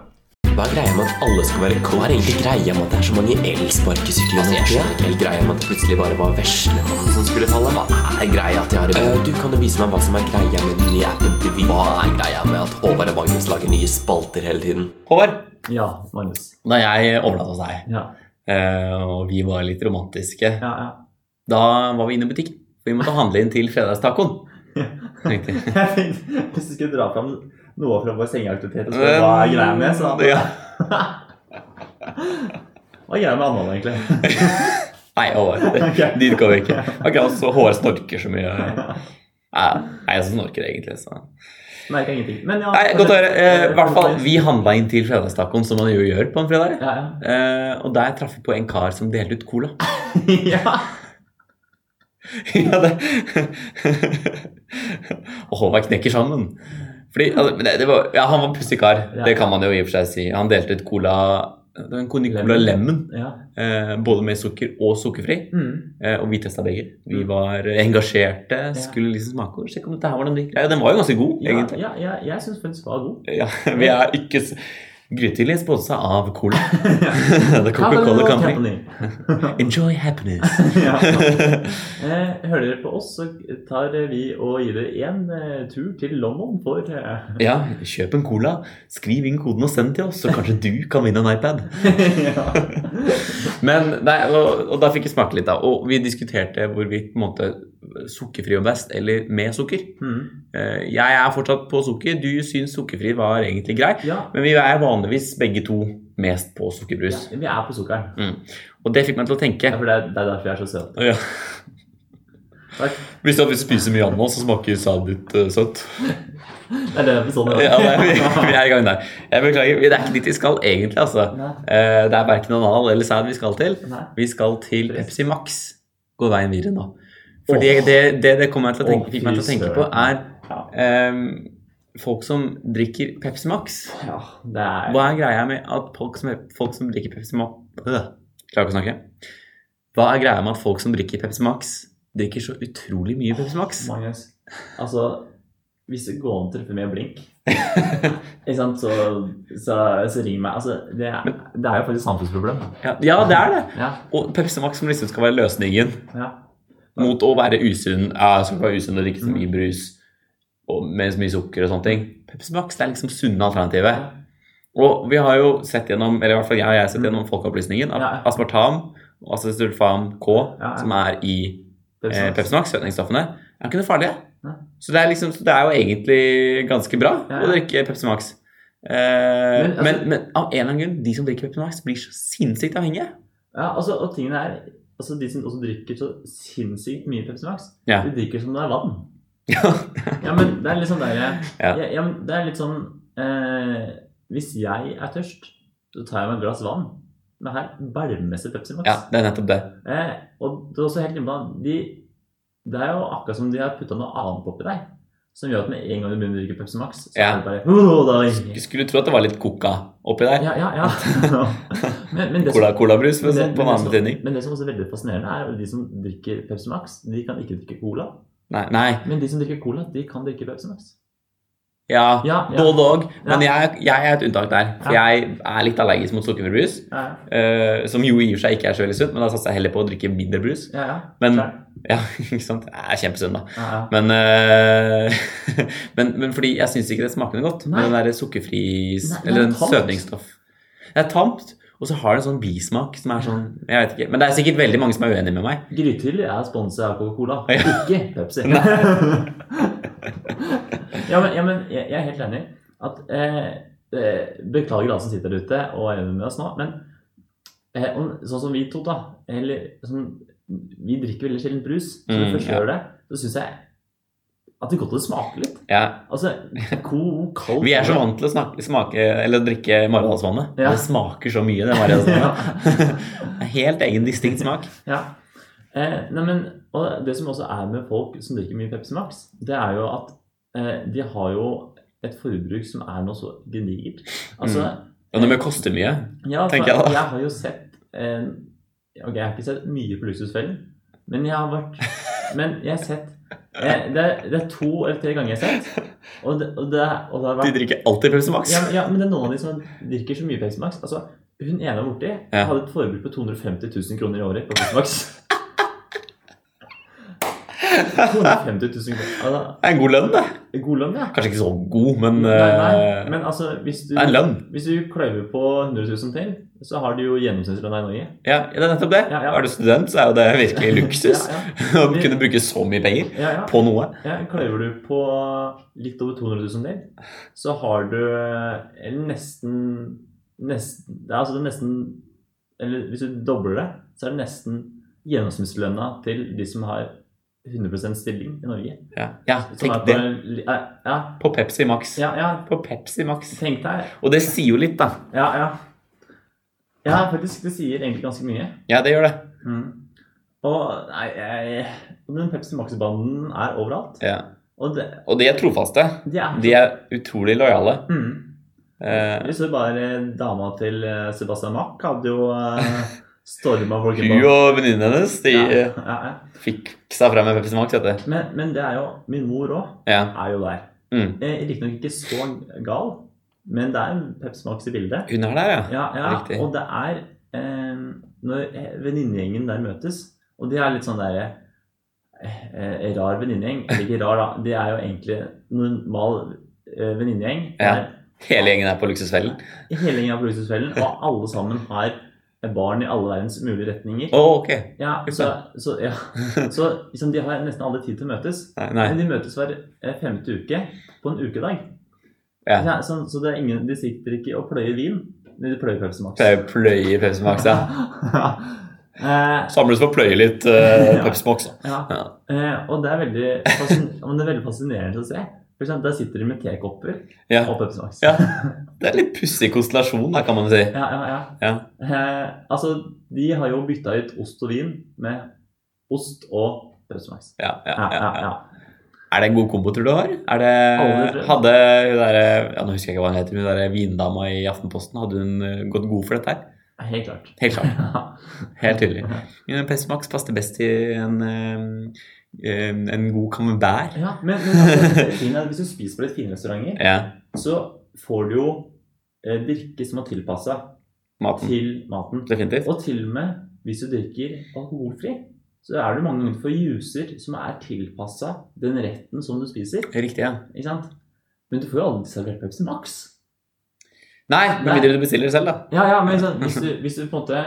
C: Hva er greia med at alle skal være
D: Hva er egentlig greia med at det er så mange elsparkesykler i
C: Altså, jeg
D: Norge?
C: skjønner ikke helt greia med at det plutselig bare var veslemannen som skulle falle. Hva er greia til Harry
D: Eh, du kan jo vise meg hva som er greia med den nye appen til Vy. Hva er greia med at Håvard og Magnus lager nye spalter hele tiden?
A: Håvard,
B: Ja, Magnus.
A: da jeg overnatta hos deg,
B: Ja,
A: eh, og vi var litt romantiske,
B: ja, ja. *laughs*
A: da var vi inne i butikken. Vi måtte handle inn til fredagstacoen. Tenkte jeg.
B: Jeg tenkte Hvis du skulle dra fram noe fra vår sengeaktivitet og spørre hva er greia med, så Hva
A: Ja.
B: er greia med Anna, egentlig? *laughs*
A: Nei, *laughs* Håvard.
B: Ok.
A: Dit går vi ikke. Akkurat så håret snorker så mye. Nei, det er jeg som snorker egentlig. Så.
B: Merka ingenting. Men ja,
A: Nei, godt å høre. Eh, I hvert fall, vi handla inn til fredagstacoen, som man jo gjør på en fredag.
B: Ja,
A: Eh, og der traff vi på en kar som delte ut cola. *laughs*
B: ja. *laughs* ja.
A: ja, det. *laughs* og Håvard knekker sammen. Fordi, altså, men det, det var, ja, han var en pussig kar,
B: Ja.
A: det kan man jo i og for seg si. Han delte ut cola det var en cola cola lemon,
B: ja.
A: eh, både med sukker og sukkerfri.
B: Mm.
A: Eh, og vi testa begge. Vi
B: Mm.
A: var engasjerte, skulle liksom smake og sjekke om dette her var noe drikke. Ja, den var jo ganske god,
B: Ja,
A: egentlig.
B: ja, ja, jeg syns faktisk var god.
A: Ja, *laughs* vi er ikke s- Grytidlig sponsa av
B: *laughs*
A: Cola. *laughs* The Coca-Cola
B: Coca-Cola
A: Company.
B: Company.
A: Enjoy happiness.
B: *laughs* ja. eh, hører dere på oss, så tar vi og gir dere en eh, tur til London for eh, *laughs*
A: Ja, kjøp en cola, skriv inn koden og send til oss, så kanskje du kan vinne en iPad.
B: ja.
A: Men, nei, og, og da fikk jeg smake litt, da. Og vi diskuterte hvorvidt på en måte sukkerfri var best, eller med sukker.
B: Mm.
A: Eh, Jeg er fortsatt på sukker. Du syns sukkerfri var egentlig grei,
B: ja.
A: men vi er vanligvis begge to mest på
B: ja.
A: sukkerbrus.
B: Vi er på sukkeren.
A: Og det fikk meg til å tenke.
B: Ja, for det, er, det er derfor vi er så søte.
A: Ja.
B: Takk.
A: Hvis du spiser mye ananas, så smaker sadet ditt uh, søtt.
B: Det er det episoden er.
A: Ja, nei, *laughs*
B: *laughs*
A: vi, vi er i gang der. Jeg beklager. Det er ikke dit vi skal egentlig, altså.
B: Nei.
A: Eh, Det er verken anal eller sæd vi skal til.
B: Nei.
A: Vi skal til
B: Trist.
A: Pepsi Max. Går veien videre nå. For det, det, det det kom meg til å tenke,
B: Åh,
A: fikk meg til å
B: fy
A: tenke på, er
B: Ja.
A: ehm, folk som drikker Pepsi Max.
B: ja, det er
A: Hva er greia med at folk som, folk som drikker Pepsi Max øh, Klarer ikke å snakke. Hva er greia med at folk som drikker Pepsi Max, drikker så utrolig mye Pepsi Max?
B: Magnus. Altså, hvis det går an å treffe
A: *laughs*
B: med blink, ikke sant, så, så, så ring meg. Altså, det, er, det er jo faktisk et samfunnsproblem.
A: Ja, ja, det er det.
B: Ja,
A: Og Pepsi Max som liksom skal være løsningen
B: ja.
A: mot å være usunn. Ja, jeg skal ikke være usunn og drikke så mye brus og med så mye sukker og sånne ting. Pepsi Max det er liksom sunne alternativet. Og vi har jo sett gjennom, eller i hvert fall jeg, og jeg har sett gjennom folkeopplysningen, at
B: Mm. Ja.
A: aspartam og acesulfam K,
B: Ja, ja.
A: som er i
B: Pepsi
A: eh,
B: Max.
A: Pepsi Max, søtningsstoffene, er ikke noe farlige.
B: Nei.
A: Så det er, liksom, så det er jo egentlig ganske bra
B: Ja, ja.
A: å drikke Pepsi Max. Eh,
B: Men, altså-
A: men, men av en eller annen grunn, de som drikker Pepsi Max, blir så sinnssykt avhengige.
B: Ja, altså, og tingene er altså, De som også drikker så sinnssykt mye Pepsi Max,
A: Ja.
B: de drikker som det er vann.
A: *laughs* Ja.
B: Ja, men det er litt sånn der,
A: Ja.
B: ja. Ja, men det er litt sånn eh, Hvis jeg er tørst, så tar jeg meg et glass vann. Men her bælmesser Pepsi Max.
A: ja, det er nettopp det.
B: Eh, og det er også helt innpå, de, det er jo akkurat som de har putta noe annet oppi deg. Som gjør at med en gang du begynner å drikke Pepsi Max, så
A: Ja.
B: er det bare «Åh, da er
A: Du
B: det-
A: skulle tro at det var litt coca oppi der.
B: Ja, ja,
A: *laughs*
B: ja. *laughs* men, men det som,
A: Cola, colabrus, men
B: men-
A: sånn på en annen
B: men det som-
A: betydning.
B: Men det som også er veldig fascinerende, er at de som drikker Pepsi Max, de kan ikke drikke cola.
A: Nei, nei.
B: Men de som drikker cola, de kan drikke Pepsi Max.
A: Ja,
B: Ja, ja.
A: både òg. Men jeg, jeg er et unntak der. For jeg er litt allergisk mot sukkerfri brus.
B: Ja, ja.
A: eh, som jo i og for seg ikke er så veldig sunt, men da satser jeg heller på å drikke mindre brus. *laughs*
B: ja, ja.
A: Men
B: Klart.
A: ja, ikke sant? Jeg er kjempesunn, da.
B: ja, ja.
A: Men, eh, *laughs* men, men fordi jeg syns ikke det smaker noe godt.
B: Nei.
A: Med den der sukkerfri
B: Nei, det er
A: Eller den
B: tamt.
A: søtningsstoff. Det er tamt, og så har det en sånn bismak som er sånn Jeg vet ikke. Men det er sikkert veldig mange som er uenige med meg.
B: Grythyller er sponset av Coca-Cola,
A: Ja.
B: ikke Pepsi.
A: Nei.
B: *laughs* ja, men, ja, men jeg jeg er helt enig. At, eh, eh, beklager alle som sitter der ute og er enig med oss nå, men eh, om, sånn som vi to, da eller, sånn, Vi drikker veldig sjelden brus. Så når vi
A: Mm,
B: først
A: ja.
B: gjør det, så syns jeg at det er godt å smake litt.
A: Ja.
B: Altså, ko- kald
A: Vi er så vant til å snakke, smake Eller drikke Maridalsvannet.
B: Ja.
A: Det smaker så mye, det
B: *laughs*
A: altså. Maridalsvannet.
B: ja.
A: *laughs* Det er Helt egen distinkt smak.
B: ja. Eh, nei, men, og det som også er med folk som drikker mye Pepsi Max, det er jo at eh, de har jo et forbruk som er noe så gedigent. Altså,
A: Og det må koste mye.
B: ja,
A: Mm.
B: for
A: Tenker jeg
B: jeg,
A: da.
B: har jo sett eh, Ok, jeg har ikke sett mye på Luksusfellen, men jeg har vært Men jeg har sett eh, det, er, det er to eller tre ganger jeg har sett, og det, og det, og det har vært
A: De drikker alltid Pepsi Max.
B: ja, men- ja, men det er noen av de som drikker så mye Pepsi Max. Altså, hun ene borti
A: Ja.
B: hadde et forbruk på 250 000 kroner i året på Pepsi Max. 250 000 kroner. Altså,
A: Det er en god lønn, det.
B: god lønn, ja.
A: Kanskje ikke så god, men
B: Nei, nei.
A: eh,
B: Men altså, hvis du,
A: det er en lønn.
B: hvis du kløyver på 100 000 til, så har du jo gjennomsnittslønna i Norge.
A: Ja, det er nettopp det.
B: Ja, ja.
A: Er du student, så er jo det virkelig luksus.
B: Ja, *laughs*
A: *laughs*
B: ja.
A: Å kunne bruke så mye penger
B: ja, ja.
A: på noe.
B: Ja, kløyver du på litt over 200 000 del, så har du eh, nesten, nesten det er Altså det er nesten Eller hvis du dobler det, så er det nesten gjennomsnittslønna til de som har 100 stilling i Norge.
A: Ja, ja
B: Som er
A: tenk
B: på,
A: det.
B: li- eh, ja,
A: På Pepsi Max.
B: ja, ja,
A: På Pepsi Max.
B: tenk deg
A: Og det sier jo litt, da.
B: Ja, ja. Ja, faktisk, det sier egentlig ganske mye.
A: Ja, det gjør det. Mm.
B: Og nei, jeg, og den Pepsi Max-banden er overalt.
A: Ja.
B: Og det,
A: Og de er trofaste.
B: de er
A: De er utrolig lojale.
B: Mm.
A: Eh,
B: Vi så bare dama til eh, Sebastian Mack hadde jo eh,
A: *laughs*
B: storma folk i
A: hun
B: bak.
A: og venninnen hennes de
B: Ja,
A: eh,
B: ja, ja.
A: fikk seg frem med Pepsi Max, vet du.
B: Men, men det er jo Min mor òg
A: Ja.
B: er jo der.
A: Mm.
B: Eh, Riktignok ikke så gal, men det er en Pepsi Max i bildet.
A: Hun er der, ja.
B: Ja, ja.
A: Riktig.
B: Og det er eh, når eh, venninnegjengen der møtes, og de er litt sånn derre eh, rar venninnegjeng. Eller ikke rar, da. De er jo egentlig normal eh, venninnegjeng. Det
A: Ja.
B: er
A: Hele gjengen er på luksusfellen.
B: Hele gjengen er på luksusfellen, og alle sammen har barn i alle verdens mulige retninger.
A: Å, ok.
B: Ja, så, så, ja. så liksom, de har nesten aldri tid til å møtes.
A: Nei, nei.
B: Men de møtes hver eh, femte uke på en ukedag.
A: Ja.
B: så, så det er ingen, de sitter ikke og pløyer vin, men de pløyer Pepsi Max.
A: Pleier å pløye Pepsi Max, ja.
B: *laughs* Eh,
A: Samles for å pløye litt uh, Pepsi Max. da.
B: *laughs* Ja.
A: Ja.
B: Eh, og det er veldig, fascin *laughs* men det er veldig fascinerende å se. For eksempel, der sitter de med tekopper
A: Ja.
B: og Pepsi Max.
A: Ja. Det er litt pussig konstellasjon, da, kan man si.
B: Ja, ja, ja.
A: Ja.
B: Eh, altså, de har jo bytta ut ost og vin med ost og Pepsi-Max.
A: Ja, ja,
B: Ja,
A: ja,
B: ja,
A: ja.
B: ja.
A: Er det en god kombo, tror du, Håvard? Er det,
B: Aldri, tror jeg.
A: hadde hun der, ja, Nå husker jeg ikke hva hun heter, hun der vindama i Aftenposten, hadde hun eh, gått god for dette her?
B: Helt *laughs* klart.
A: Helt klart.
B: Ja.
A: Helt tydelig. Ja, Pepsi Max passer best til en, eh, eh, en god camembert.
B: Ja, men, men altså, det fine er at hvis du spiser på litt fine restauranter,
A: Ja,
B: så får du jo eh, drikke som er tilpassa
A: maten.
B: til maten.
A: Definitivt.
B: Og til og med hvis du drikker alkoholfri, så er det mange ganger for juicer som er tilpassa den retten som du spiser.
A: Riktig, ja.
B: Ikke sant? Men du får jo aldri servert Pepsi Max.
A: Nei, med
B: Nei.
A: mindre du bestiller selv, da.
B: Ja, ja, men sånn, hvis, du, hvis du på en måte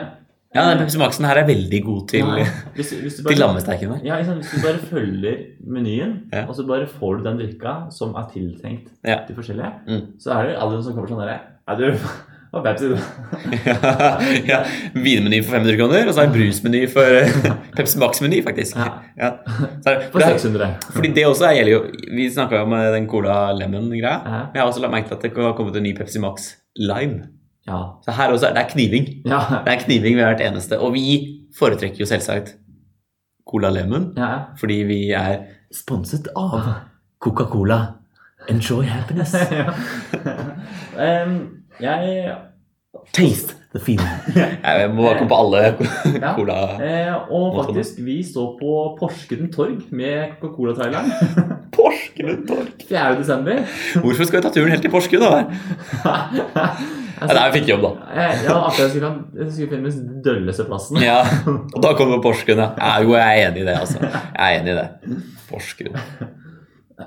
A: Ja, den Pepsi Maxen her er veldig god til,
B: Ja, hvis, du- hvis du
A: til
B: bare,
A: lammesteiken der.
B: ja, ikke sant? Hvis du bare følger menyen,
A: Ja.
B: og så bare får du den drikka som er tiltenkt
A: Ja.
B: de forskjellige,
A: Mm.
B: så er det aldri noen som kommer sånn derre Nei, du, hva er Pepsi, du?
A: ja, Vinmeny for 500 kroner, og så er det brusmeny for eh, *laughs* Pepsi Max-meny, faktisk.
B: Ja.
A: Ja. Så er det, for
B: For
A: det er,
B: 600.
A: fordi det også er, gjelder jo Vi snakka jo om eh, den Cola Lemon-greia.
B: Ja.
A: Men jeg har også lagt merke til at det har kommet en ny Pepsi Max Lime.
B: Ja.
A: Så her også er det er kniving.
B: Ja.
A: Det er kniving ved hvert eneste. Og vi foretrekker jo selvsagt Cola Lemon,
B: ja.
A: fordi vi er sponset av Coca-Cola. Enjoy
B: *laughs*
A: happiness.
B: Em, jeg
A: Taste the feeling. Jeg må bare komme på alle
B: Ja.
A: cola
B: eh, Og
A: Hva skal du?
B: faktisk, vi står på Porsgrunn torg med Coca-Cola-traileren *laughs*
A: Porsgrunn torg!
B: 4. desember.
A: Hvorfor skal vi ta turen helt til Porsgrunn? da? Ja, der vi fikk jobb, da.
B: Jeg, Eh, ja, akkurat jeg skulle, jeg skulle finne den dølleste plassen.
A: Ja, *laughs* og Da kommer Porsgrunn, ja. ja. Jo, jeg er enig i det, altså. Jeg er enig i det. Porsgrunn.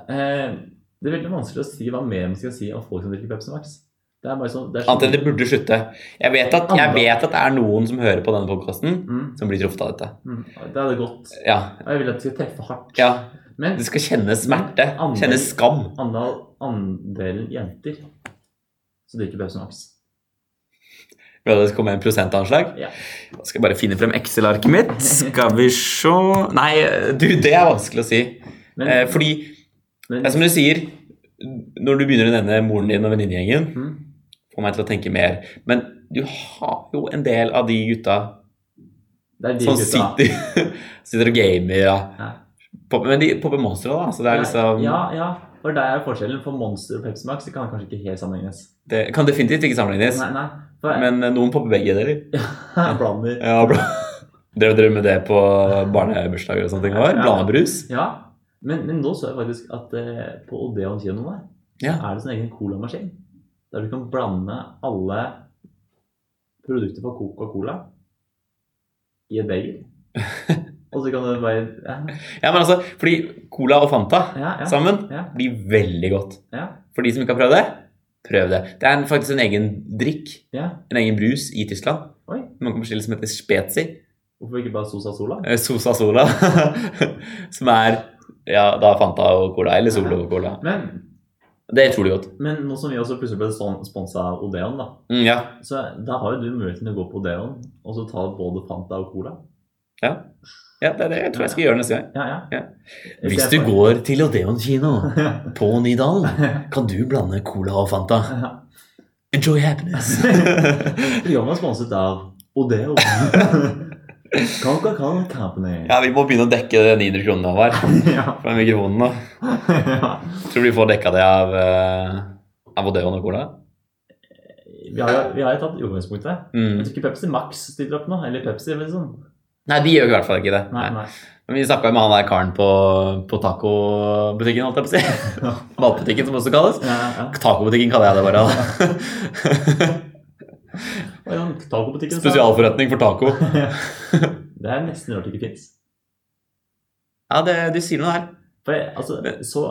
B: Eh, det er veldig vanskelig å si hva mer man skal si om folk som drikker Pepsi Max. Det er bare sånn det er
A: Annet enn
B: sånn-
A: det burde slutte. Jeg vet at, jeg vet at det er noen som hører på denne podkasten,
B: Mm,
A: som blir truffet av dette.
B: mm, det hadde gått.
A: Ja,
B: Og jeg vil at det skal treffe hardt.
A: ja.
B: Men
A: Du skal kjenne smerte.
B: Andre-
A: Kjenne skam.
B: andel, andelen jenter som drikker Pepsi Max
A: Bra, Det kommer en prosentanslag.
B: Ja.
A: Da skal jeg bare finne frem Excel-arket mitt. Skal vi se Nei, du, det er vanskelig å si.
B: Men,
A: Eh, fordi,
B: men
A: det er som du sier, når du begynner å nevne moren din og venninnegjengen,
B: Mm,
A: får meg til å tenke mer. Men du har jo en del av de gutta
B: det er de
A: som
B: gutta.
A: sitter, *laughs* sitter og gamer, ja.
B: Ja.
A: Pop- Men de popper monstre, da. Så det er liksom
B: Ja, ja. For der er forskjellen. For Monster og Pepsi Max det kan kanskje ikke helt sammenlignes.
A: Det kan definitivt ikke sammenlignes.
B: Nei, nei. For
A: Men eh, noen popper begge deler.
B: *laughs* jeg blander
A: Ja, *laughs* bra. Drev dere med det på barnebursdager og sånne ting?
B: Ja.
A: Bladebrus?
B: Ja. Men, men nå så jeg faktisk at eh, på Odeon kino der
A: Ja.
B: er det sin egen colamaskin. Der du kan blande alle produkter fra Coca-Cola i et
A: *laughs*
B: beger. Og så kan du bare Ja,
A: Ja, men altså, fordi Cola og Fanta
B: ja. ja.
A: sammen
B: Ja.
A: blir veldig godt.
B: Ja.
A: For de som ikke har prøvd det, prøv det. Det er en- faktisk en egen drikk,
B: ja.
A: en egen brus i Tyskland.
B: Oi.
A: Man kan bestille som heter Spezi,
B: Hvorfor ikke bare Sosa Sola?
A: eh, Sosa Sola, *laughs* som er ja, da Fanta og Cola, eller Solo og Cola.
B: Men,
A: Det er utrolig godt.
B: men nå som vi også plutselig ble sånn sponsa av Odeon, da
A: Mm, ja.
B: Så da har jo du muligheten til å gå på Odeon og så ta både Fanta og Cola.
A: ja, det er det jeg tror jeg skal gjøre neste gang.
B: Ja, ja.
A: Ja.
B: I
A: Hvis du
B: stedet for- *laughs*
A: går til Odeon *laughs* kino på Nydalen, kan du blande Cola og Fanta. Enjoy happiness.
B: Programmet er sponset av *laughs* Odeon. Coca-Cola Company.
A: *laughs* ja, vi må begynne å dekke det 900 kronene vår
B: Ja.
A: fra mikrofonen nå.
B: *laughs* ja.
A: Tror du vi får dekka det av, eh, av Odeon og Cola?
B: Vi har jo vi har jo tatt utgangspunktet. Jeg
A: Mm.
B: tror ikke Pepsi Max stiller opp nå. Eller Pepsi, eller sånn.
A: Nei, de gjør i hvert fall ikke det.
B: Nei,
A: Nei.
B: nei.
A: Men vi snakka med han der karen på, på tacobutikken, holdt *laughs* jeg på å si. Matbutikken, som også kalles.
B: Ja, ja.
A: Tacobutikken kaller jeg det *laughs* bare. da.
B: Og i den tacobutikken så-
A: Spesialforretning for taco.
B: Det er nesten rart det ikke fins.
A: Ja, det, du sier noe her.
B: For jeg, altså, så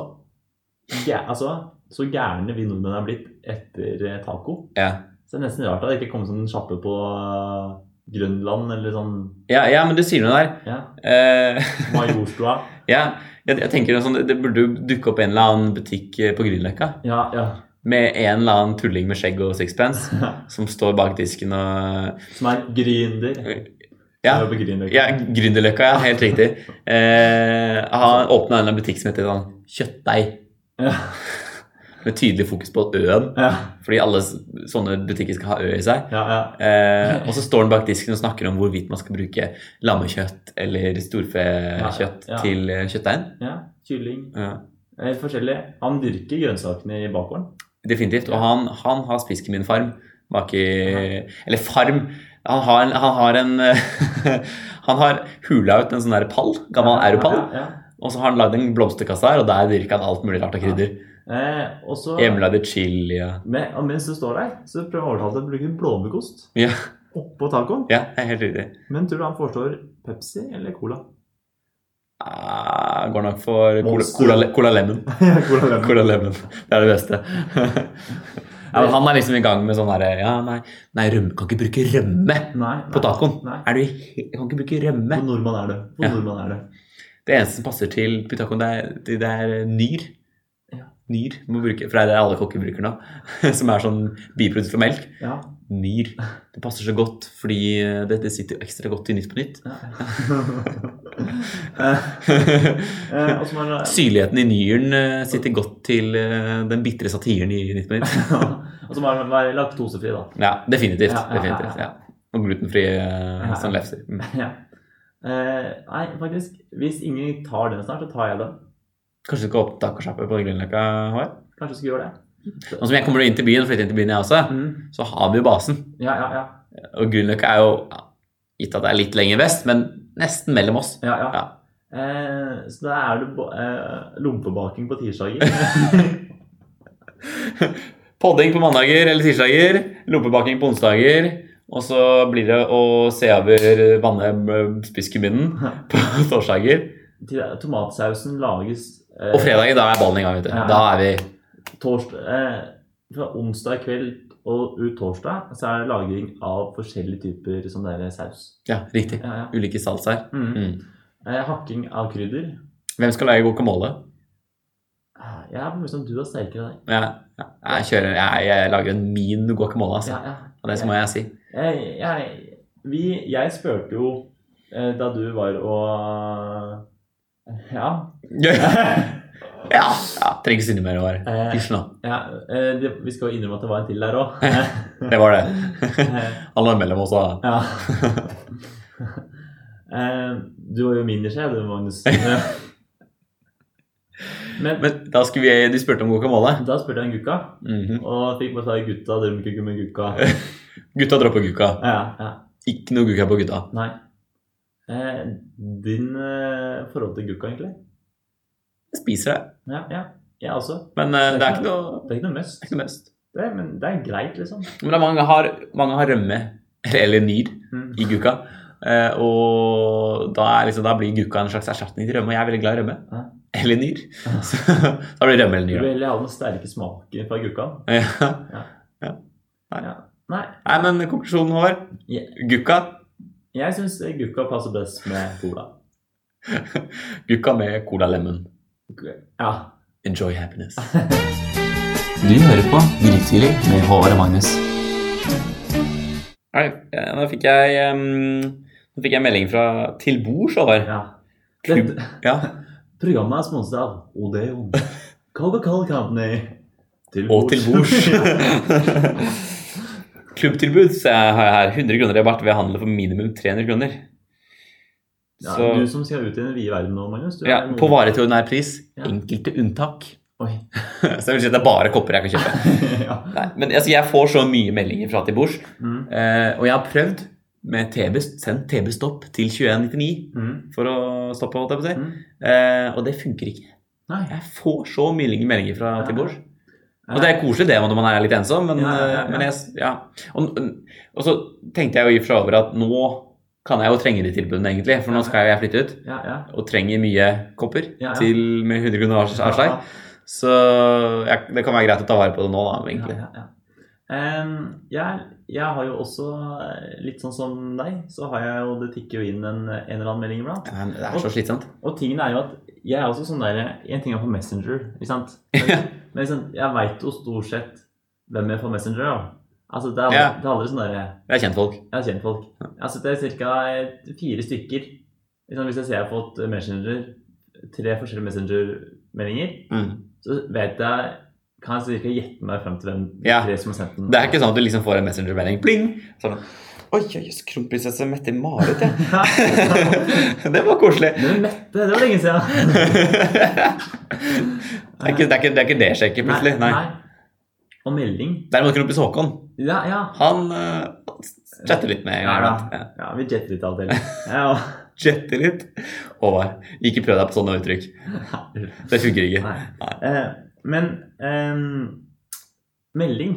B: gæ- altså, så gærne vi nordmenn er blitt etter eh, taco.
A: Ja.
B: Så det er nesten rart at det ikke kom sånn en sjappe på eh, Grønland eller sånn
A: Ja, ja, men du sier noe der.
B: ja,
A: Eh, *laughs*
B: Majorstua.
A: ja, jeg, jeg tenker noe sånn, Det burde jo dukke opp en eller annen butikk eh, på Grünerløkka
B: Ja, ja.
A: med en eller annen tulling med skjegg og sixpence som står bak disken og
B: Som er gründer.
A: Ja.
B: Som er på Grünerløkka.
A: Ja, Grünerløkka, ja. Helt riktig. Eh, han åpna en eller annen butikk som heter sånn Kjøttdeig.
B: Ja.
A: Med tydelig fokus på øen,
B: Ja,
A: fordi alle s- sånne butikker skal ha ø i seg.
B: ja, ja.
A: Eh, og så står han bak disken og snakker om hvorvidt man skal bruke lammekjøtt eller storfekjøtt
B: Ja, ja.
A: til eh, kjøttdeigen.
B: ja. Kylling.
A: Ja,
B: Det er Helt forskjellig. Han dyrker grønnsakene i bakgården.
A: definitivt. Og han, han har spisk i min farm bak i Eller farm! Han har en, han har, en *laughs* han har hula ut en sånn der pall, gammel europall,
B: Ja, ja.
A: og så har han lagd en blomsterkasse her, og der dyrker han alt mulig rart av krydder.
B: Eh, og så,
A: Hjemmelagde chili og
B: men, og mens du står der, så prøver jeg å overtale deg til å bruke blåmuggost
A: Ja,
B: oppå tacoen.
A: ja det er helt riktig.
B: Men tror du han forstår Pepsi eller
A: *laughs*
B: Cola?
A: Ah, går nok for cola,
B: Monster.
A: cola, cola lemon.
B: Ja, cola lemon.
A: Cola lemon. Det er det beste. ja, men han er liksom i gang med sånn herre Ja, nei, nei rømme, kan ikke bruke rømme
B: Nei, nei.
A: på tacoen.
B: Nei.
A: Er du he- Kan ikke bruke rømme.
B: Hvor nordmann er det? Hvor
A: Ja.
B: nordmann er det?
A: Det eneste som passer til på tacoen, det er, det- det er eh, nyr.
B: Ja.
A: Nyr må bruke, for det er det alle kokker bruker nå. *laughs* Som er sånn biprodukt fra melk.
B: Ja.
A: Nyr. Det passer så godt fordi eh, dette sitter jo ekstra godt i Nytt på
B: *laughs*
A: nytt. *laughs*
B: Eh, og så må
A: *laughs*
B: han- *laughs*
A: Syrligheten i nyren eh, sitter godt til eh, den bitre satiren i Nytt på nytt.
B: og så må han være laktosefri, da.
A: Ja, definitivt.
B: Ja, ja, ja,
A: definitivt
B: ja.
A: ja. Og glutenfrie uh, sånn lefser. Mm.
B: *laughs* Ja. Eh, nei, faktisk, hvis ingen tar den snart, så tar jeg den.
A: Kanskje du skal opp tacosjappe på Grünerløkka? Håvard?
B: Kanskje jeg skulle gjøre det.
A: Nå som jeg kommer inn til byen, og flytter inn til byen jeg også,
B: Mm.
A: så har vi jo basen.
B: Ja, ja, ja.
A: Og Grünerløkka er jo, ja, gitt at det er litt lenger vest, men nesten mellom oss.
B: ja, ja.
A: Ja.
B: Eh, så da er det bo- eh, lompebaking på tirsdager. *laughs*
A: Podding på mandager eller tirsdager, lompebaking på onsdager, og så blir det å se over vannet med spisskuminen *laughs* på torsdager.
B: Til- eh, Tomatsausen lages eh,
A: Og fredager, da er ballen i gang, vet du. Da er vi
B: tors- eh, fra onsdag kveld og ut torsdag så er det lagring av forskjellige typer sånn der saus.
A: Ja, riktig.
B: Ja, ja.
A: Ulike salsaer.
B: Mm.
A: Mm.
B: Eh, hakking av krydder.
A: Hvem skal lage guacamole?
B: Eh, Jeg er på følelsen at du er sterkere enn deg.
A: Ja, ja. jeg, kjører, jeg, jeg lager en min guacamole, altså.
B: Ja, ja.
A: Og det må jeg si.
B: Jeg, jeg, vi, jeg spurte jo eh, da du var og Ja.
A: ja,
B: *laughs*
A: ja trenger ikke synde mer over.
B: Eh,
A: Hysj nå.
B: ja eh, det, vi skal jo innrømme at det var en til der òg.
A: Det var det. *laughs* Han var mellom oss, da.
B: *laughs* ja. eh, du var jo mindre skjev, du, Magnus. *laughs* Men,
A: Men da skulle vi, de spurte om guacamole.
B: da spurte jeg en gukka,
A: Mhm.
B: og fikk bare svare 'gutta', dere må ikke komme med gukka.
A: Gutta dropper gukka.
B: Ja, ja,
A: Ikke noe gukka på gutta.
B: Nei. Eh, din eh, forhold til gukka, egentlig?
A: Jeg spiser det.
B: Ja, ja. Jeg også.
A: Men eh, det er ikke noe,
B: Det er ikke noe must.
A: det er ikke noe mest.
B: Det, er- men det er greit, liksom.
A: Men det er mange, har, mange har rømme, *laughs* eller nyr, i gukka. Eh, og da, er liksom, da blir gukka en slags erstatning til rømme, og jeg er veldig glad i rømme.
B: Ja.
A: Eller nyr. *laughs* Så da blir det rømme eller
B: Du
A: nyr.
B: vil
A: da.
B: heller ha den sterke smaken fra gukkaen.
A: Ja.
B: Nei,
A: Nei, men konklusjonen vår
B: Ja.
A: Gukka.
B: jeg syns gukka passer best med cola.
A: Gukka med Cola Lemon.
B: Ja.
A: Enjoy happiness. du hører på Grytidlig med Håvard og Magnus. *laughs* Nei, eh, nå fikk jeg em, Nå fikk jeg melding fra Til bords, Håvard.
B: ja. Dette,
A: Ja.
B: programmet er sponset av Odeon. Coca-Cola Company. Til
A: Og til bords. *laughs* Klubbtilbud så jeg har jeg her. 100 kroner rabatt ved handel for minimum 300 kroner.
B: *laughs*
A: *laughs*
B: ja,
A: Så,
B: du som skal ut i den vide verden nå, Magnus. Du
A: ja,
B: er noen-
A: på vare til ordinær pris.
B: Ja.
A: Enkelte unntak.
B: *laughs* Oi.
A: *laughs* Så jeg vil si at det er bare kopper jeg kan kjøpe.
B: ja.
A: Nei, men altså, jeg får så mye meldinger fra til bords.
B: Mm,
A: Eh, og jeg har prøvd med TB, sendt TB-stopp til 2199
B: mm,
A: for å stoppe, holdt jeg på å si.
B: mm.
A: Eh, og det funker ikke.
B: Nei.
A: Jeg får så mye meldinger fra til bords. Og
B: Ja.
A: det er koselig det når man er litt ensom, men,
B: Ja, ja, ja.
A: eh, men jeg ja. Og, og så tenkte jeg jo i og for seg over at nå kan jeg jo trenge de tilbudene, egentlig. For nå skal jo jeg flytte ut
B: Ja, ja.
A: og trenger mye kopper
B: Ja, ja.
A: Til, med 100 kroner avs- avslag. Så jeg, det kan være greit å ta vare på det nå, da,
B: Ja,
A: egentlig.
B: ja, ja. Em, jeg, jeg har jo også, eh, litt sånn som deg, så har jeg jo, det tikker jo inn en, en eller annen melding iblant.
A: Nei, men Det er så slitsomt.
B: Og tingen er jo at jeg er også sånn der En ting er på Messenger, ikke
A: *laughs*
B: sant? Men, men ikke sant, jeg veit jo stort sett hvem jeg får Messenger av. Altså, det er aldri,
A: Ja.
B: det er aldri sånn derre
A: Det er kjentfolk.
B: Jeg har kjent folk. Altså, det er ca. fire stykker. Ikke sant, hvis jeg ser jeg har fått eh, Messenger, tre forskjellige Messenger-meldinger,
A: Mm.
B: så vet jeg kan jeg cirka gjette meg frem til hvem
A: Ja.
B: tre som har sendt den?
A: Det er ikke sånn at du liksom får en messengermelding. Pling! Sånn. Oi, oi, jøss, kronprinsesse Mette-Marit, ja. *laughs* det var koselig.
B: *laughs* Men Mette, det var lenge siden.
A: Det er ikke det, er ikke, det, er ikke det sjekket, *laughs* plutselig. Nei.
B: Og melding.
A: Derimot kronprins Haakon,
B: Ja, ja.
A: han uh, chatter litt med en gang.
B: Ja,
A: iblant. Ja.
B: ja vi jetter litt
A: *laughs*
B: av og til. Ja, og-
A: Chatter litt. Håvard, ikke prøv deg på sånne uttrykk. Det funker ikke.
B: Nei. Eh, men ehm, melding,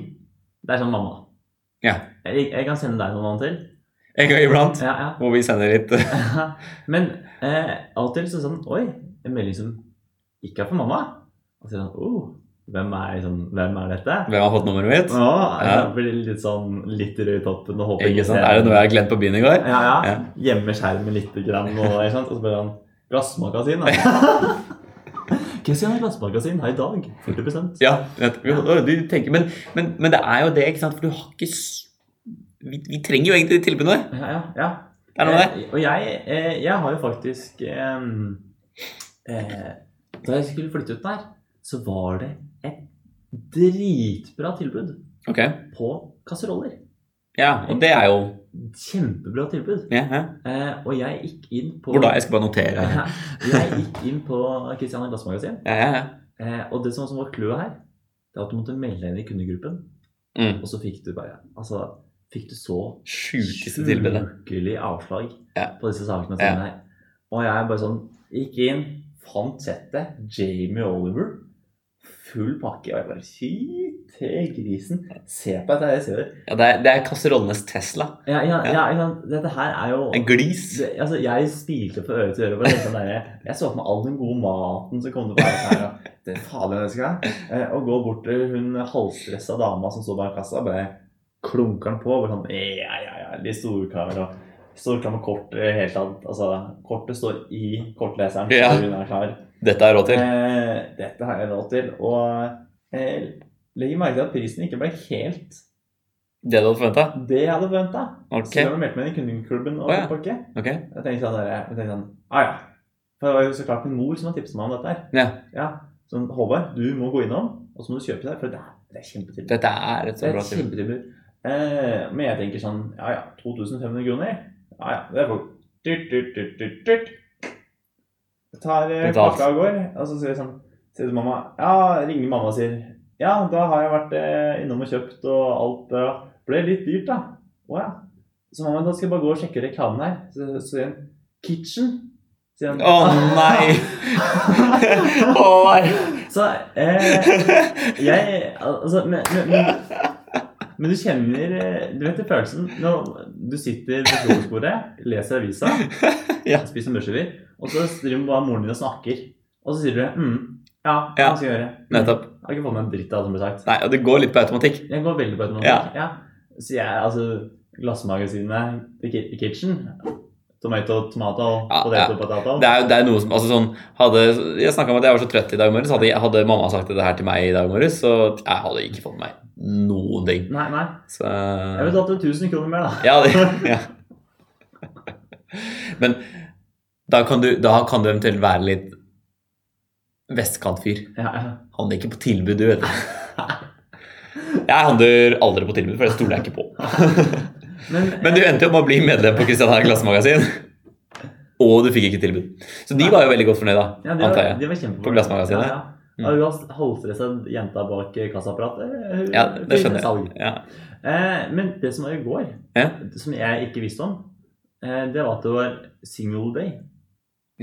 B: det er sånn mamma.
A: Ja.
B: Jeg, jeg kan sende deg noen annen til.
A: En gang iblant
B: Ja, ja.
A: hvor vi sender litt eh,
B: *laughs* Men eh, av og til så er det sånn Oi, en melding som ikke er for mamma. Og så er det sånn oh, hvem, er, liksom, hvem er dette?
A: Hvem har fått nummeret mitt?
B: Å, ja.
A: Ja.
B: Blir litt sånn litt rød i toppen og håper
A: Ikke sant? Er det noe jeg har glemt på byen i går?
B: Ja, ja.
A: Ja.
B: Gjemmer skjermen litt, grann, og, ikke sant? og så bare han
A: *laughs*
B: Glassmagasin, da. *laughs* Hva skal jeg ha i glassmagasin her i dag? 40
A: Ja, vet, vi, å, du tenker, men, men, men det er jo det, ikke sant? For du har ikke s- Vi, vi trenger jo egentlig de tilbudene.
B: Ja, ja, ja.
A: Det er noe der.
B: Eh, Og jeg, eh, jeg har jo faktisk eh, eh, Da jeg skulle flytte ut der, så var det et dritbra tilbud
A: Ok.
B: på kasseroller.
A: Ja, og det er jo
B: Kjempebra tilbud.
A: ja, ja.
B: Eh, og jeg gikk inn på
A: Hvor da? Jeg skal bare
B: *laughs*
A: notere. Ja,
B: jeg gikk inn på Christiania Glassmagasin,
A: ja, ja.
B: eh, og det som som var clouet her, det er at du måtte melde deg inn i kundegruppen,
A: Mm.
B: og så fikk du bare Altså, fikk du så
A: Sjukeste tilbudet.
B: Sjukelig avslag
A: Ja.
B: på disse sakene. og
A: Ja.
B: tingene her. Og jeg bare sånn gikk inn, fant settet, Jamie Oliver, full pakke. Og jeg bare Fy til grisen. Se på dette, her, jeg ser det.
A: Ja, det, er, det er kasserollenes Tesla.
B: Ja, ja, ja, ikke sant? Dette her er jo
A: En glis.
B: det, altså, jeg spilte fra øre til øre. Bare tenkte sånn der, jeg så for meg all den gode maten som kom til å være her. Og, det fader, det skal jeg. Eh, og gå bort til hun halvstressa dama som står bak kassa, bare klunker den på. Bare sånn, ja, ja, ja, de storkarer og storkar med kort i det hele tatt. Altså, kortet står i kortleseren.
A: Ja.
B: så Hun er klar.
A: Dette har jeg råd til.
B: Eh, dette har jeg råd til. Og eh, legger merke til at prisen ikke ble helt
A: Det du hadde forventa?
B: det jeg hadde forventa.
A: Ok.
B: Så jeg ble meldt meg inn i kundeklubben og
A: Å, ja.
B: pakke.
A: ok.
B: Jeg tenkte sånn, der, jeg tenkte sånn ah, ja. For det var jo så klart min mor som har tipset meg om dette her.
A: Ja.
B: Ja. Sånn, Håvard, du må gå innom, og så må du kjøpe det her, for det er, det er kjempetilbud.
A: Dette er et
B: Det
A: så
B: er
A: bra
B: et
A: tilbud.
B: kjempetilbud. Eh, men jeg tenker sånn, ja ja, 2500 kroner? Ja ja, det er for dyrt, dyrt, dyrt, dyrt, dyrt. Jeg tar eh,
A: Betalt.
B: pakka og går, og så sier jeg sånn, sier jeg til mamma, ja, ringer mamma og sier, ja, da har jeg vært eh, innom og kjøpt og alt, det ble litt dyrt da. Å ja. Så mamma, da skal jeg bare gå og sjekke reklamen her. Så så sier hun, kitchen? Sier hun.
A: Å nei! *laughs* Å nei!
B: *laughs* Så eh, jeg Altså, men, men, men, men du kjenner eh, Du vet den følelsen når du sitter ved frokostbordet, leser avisa,
A: *laughs* Ja.
B: spiser mørsevier, og så driver bare moren din og snakker. Og så sier du mm, ja, hva
A: Ja.
B: skal jeg gjøre? Mm,
A: *laughs* Nettopp.
B: Jeg har ikke fått med en dritt av det som ble sagt.
A: Nei, og det går litt på automatikk.
B: Jeg går veldig på automatikk. Ja. Så jeg, altså Glassmagasinet The Ki- The Kitchen Tomato, tomato,
A: Ja,
B: potato,
A: ja.
B: potato.
A: Det er, jo- det er noe som, altså sånn, hadde, Jeg snakka om at jeg var så trøtt i dag morges. Hadde, jeg- hadde mamma sagt dette her til meg i dag morges, så jeg hadde ikke fått med meg noen ting.
B: Nei, nei.
A: Så
B: Jeg betalte 1000 kroner mer, da.
A: Ja, det, ja. Men da kan, du, da kan du eventuelt være litt vestkantfyr.
B: Ja, ja.
A: Handler ikke på tilbud, du
B: *laughs*
A: vet. Jeg handler aldri på tilbud, for det stoler jeg ikke på.
B: Men,
A: Men du endte jo med å bli medlem på Christian Hagen Glassmagasin. Og du fikk ikke tilbud. Så de var jo veldig godt fornøyd, da.
B: Ja, de
A: Antar
B: var,
A: jeg.
B: de var kjempefornøyd.
A: På glassmagasinet. Mm.
B: Ja, ja. Og hun har halvstressa jenta bak kassaapparatet. Hun-
A: Ja, det
B: hun
A: skjønner jeg.
B: salg.
A: Ja.
B: Eh, men det som var i går,
A: Ja.
B: som jeg ikke visste om, eh, det var at det var single day.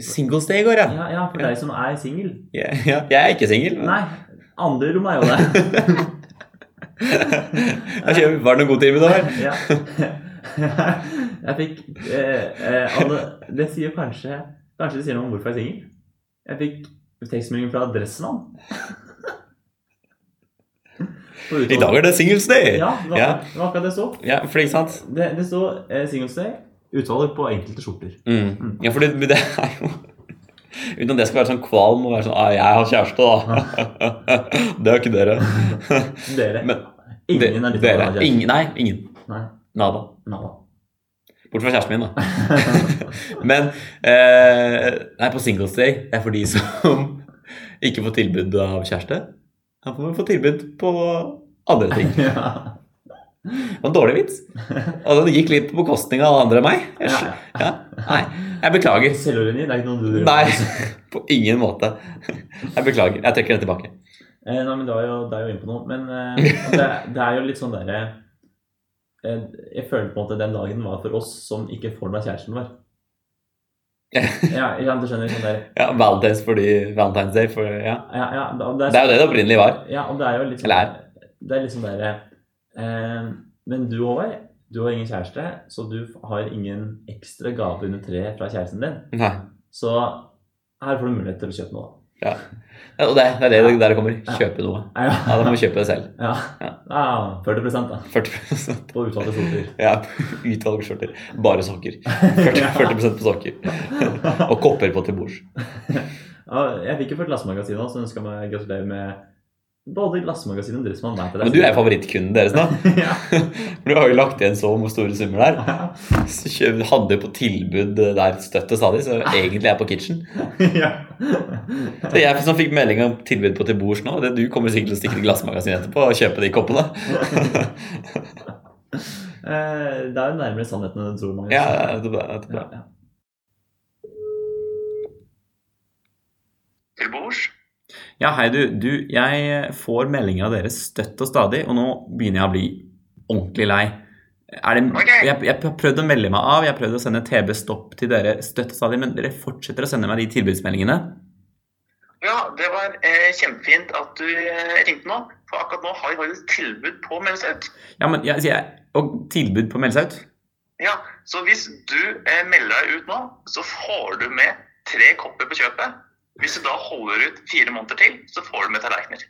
A: Singles day i går, ja.
B: Ja, ja for
A: Ja.
B: deg som er singel.
A: Ja, ja. Jeg er ikke singel. men-
B: Nei, andre rom er jo
A: *laughs*
B: det.
A: Jeg kjøper- Var det noe godt tilbud over?
B: Ja. *laughs* Jeg fikk eh, eh, alle, Det sier kanskje Kanskje det sier noe om hvorfor jeg er singel. Jeg fikk tekstmelding fra Adressemann.
A: *laughs* I dag er det singles day!
B: Ja, det var,
A: Ja.
B: det var akkurat det det sto.
A: Ja, for ikke sant?
B: Det, det sto eh, Singles Day. Utvalg på enkelte skjorter.
A: Mm. Ja, for det, men det er jo Uten at det skal være sånn kvalm og være sånn ah, 'Jeg har kjæreste, da'. *laughs* det har ikke dere.
B: Dere.
A: Men-
B: ingen er
A: De-
B: litt
A: dere. Ingen, nei, ingen.
B: Nei.
A: Nada.
B: Nada.
A: Bortsett fra kjæresten min, da. *laughs* Men *laughs* eh, Nei, på singles day. Det er for de som ikke får tilbud av kjæreste. Han får få tilbud på andre ting.
B: *laughs* ja.
A: Det var en dårlig vits. Altså, det gikk litt på bekostning av andre enn meg. Jeg, skj- ja. Nei, jeg beklager.
B: Selvironi, det er ikke noe du driver
A: Nei,
B: med.
A: *laughs* på ingen måte. Jeg beklager. Jeg trekker det tilbake.
B: Eh, nei, men du er jo, du er jo inne på noe. Men
A: *laughs*
B: eh, det, det er jo litt sånn derre eh, Jeg føler på en måte den dagen var for oss som ikke får med kjæresten vår. Ja, ja du skjønner. Sånn der,
A: Ja, Valentine's fordi Valentine's Day for, ja.
B: ja, ja, da- det, sånn-
A: Det er jo det det opprinnelig var.
B: Ja, og det er jo litt sånn
A: Eller
B: Det er litt sånn derre eh, Men du Håvard, du har ingen kjæreste, så du har ingen ekstra gave under treet fra kjæresten din.
A: Nei.
B: Så her får du mulighet til å kjøpe noe.
A: Ja. Og det, det er det det- der det kommer. Kjøpe noe.
B: Ja,
A: Ja, da må du kjøpe det selv.
B: ja. ja 40 da,
A: 40
B: på utvalgte skjorter.
A: *laughs* ja, utvalgsskjorter. Bare sokker. 40, 40 på sokker. Og kopper på til bords.
B: Ja, jeg fikk jo fra Glassmagasinet også, så ønska meg gratulerer med både Glassmagasinet og Driftsmann. Nei, til deg.
A: Men du er favorittkunden deres nå. *laughs* For du har jo lagt igjen så store summer der. Så kjø- hadde jo på tilbud der støtte stadig, så egentlig er jeg på kitchen.
B: *laughs* ja.
A: Så jeg som fikk melding om tilbud på til bords nå, det du kommer sikkert til å stikke til glassmagasinet etterpå og kjøpe de koppene. *laughs*
B: Eh, Det er jo nærmere sannheten enn du tror. Magnus.
A: Ja, det er bra, det er bra.
B: Ja, ja.
D: Til bords?
A: ja hei du, du, jeg får meldinger av dere støtt og stadig, og nå begynner jeg å bli ordentlig lei. Er det, jeg, jeg har prøvd å melde meg av, jeg har prøvd å sende TB-stopp til dere støtt og stadig, men dere fortsetter å sende meg de tilbudsmeldingene.
D: Ja, det var eh, kjempefint at du eh, ringte nå. For akkurat nå har vi faktisk tilbud på Melsaut.
A: Ja, men jeg, sier jeg, og tilbud på Melsaut?
D: Ja, så hvis du eh, melder deg ut nå, så får du med tre kopper på kjøpet. Hvis du da holder ut fire måneder til, så får du med tallerkener.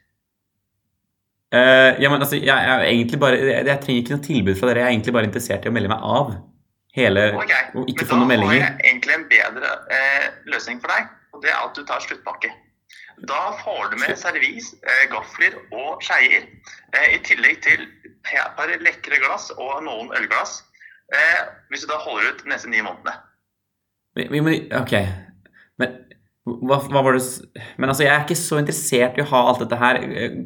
A: Eh, ja, men altså, jeg, jeg, er egentlig bare, jeg, jeg trenger ikke noe tilbud fra dere. Jeg er egentlig bare interessert i å melde meg av. Hele,
D: Ok,
A: og ikke få
D: Men da
A: noen
D: har
A: meldinger.
D: jeg egentlig en bedre eh, løsning for deg, og det er at du tar sluttpakke. Da får du med servis, eh, gafler og skeier, eh, i tillegg til et par lekre glass og noen ølglass, eh, hvis du da holder ut de neste ni månedene.
A: Men- men- men- ok, men hva, hva var det s- Men altså, jeg er ikke så interessert i å ha alt dette her.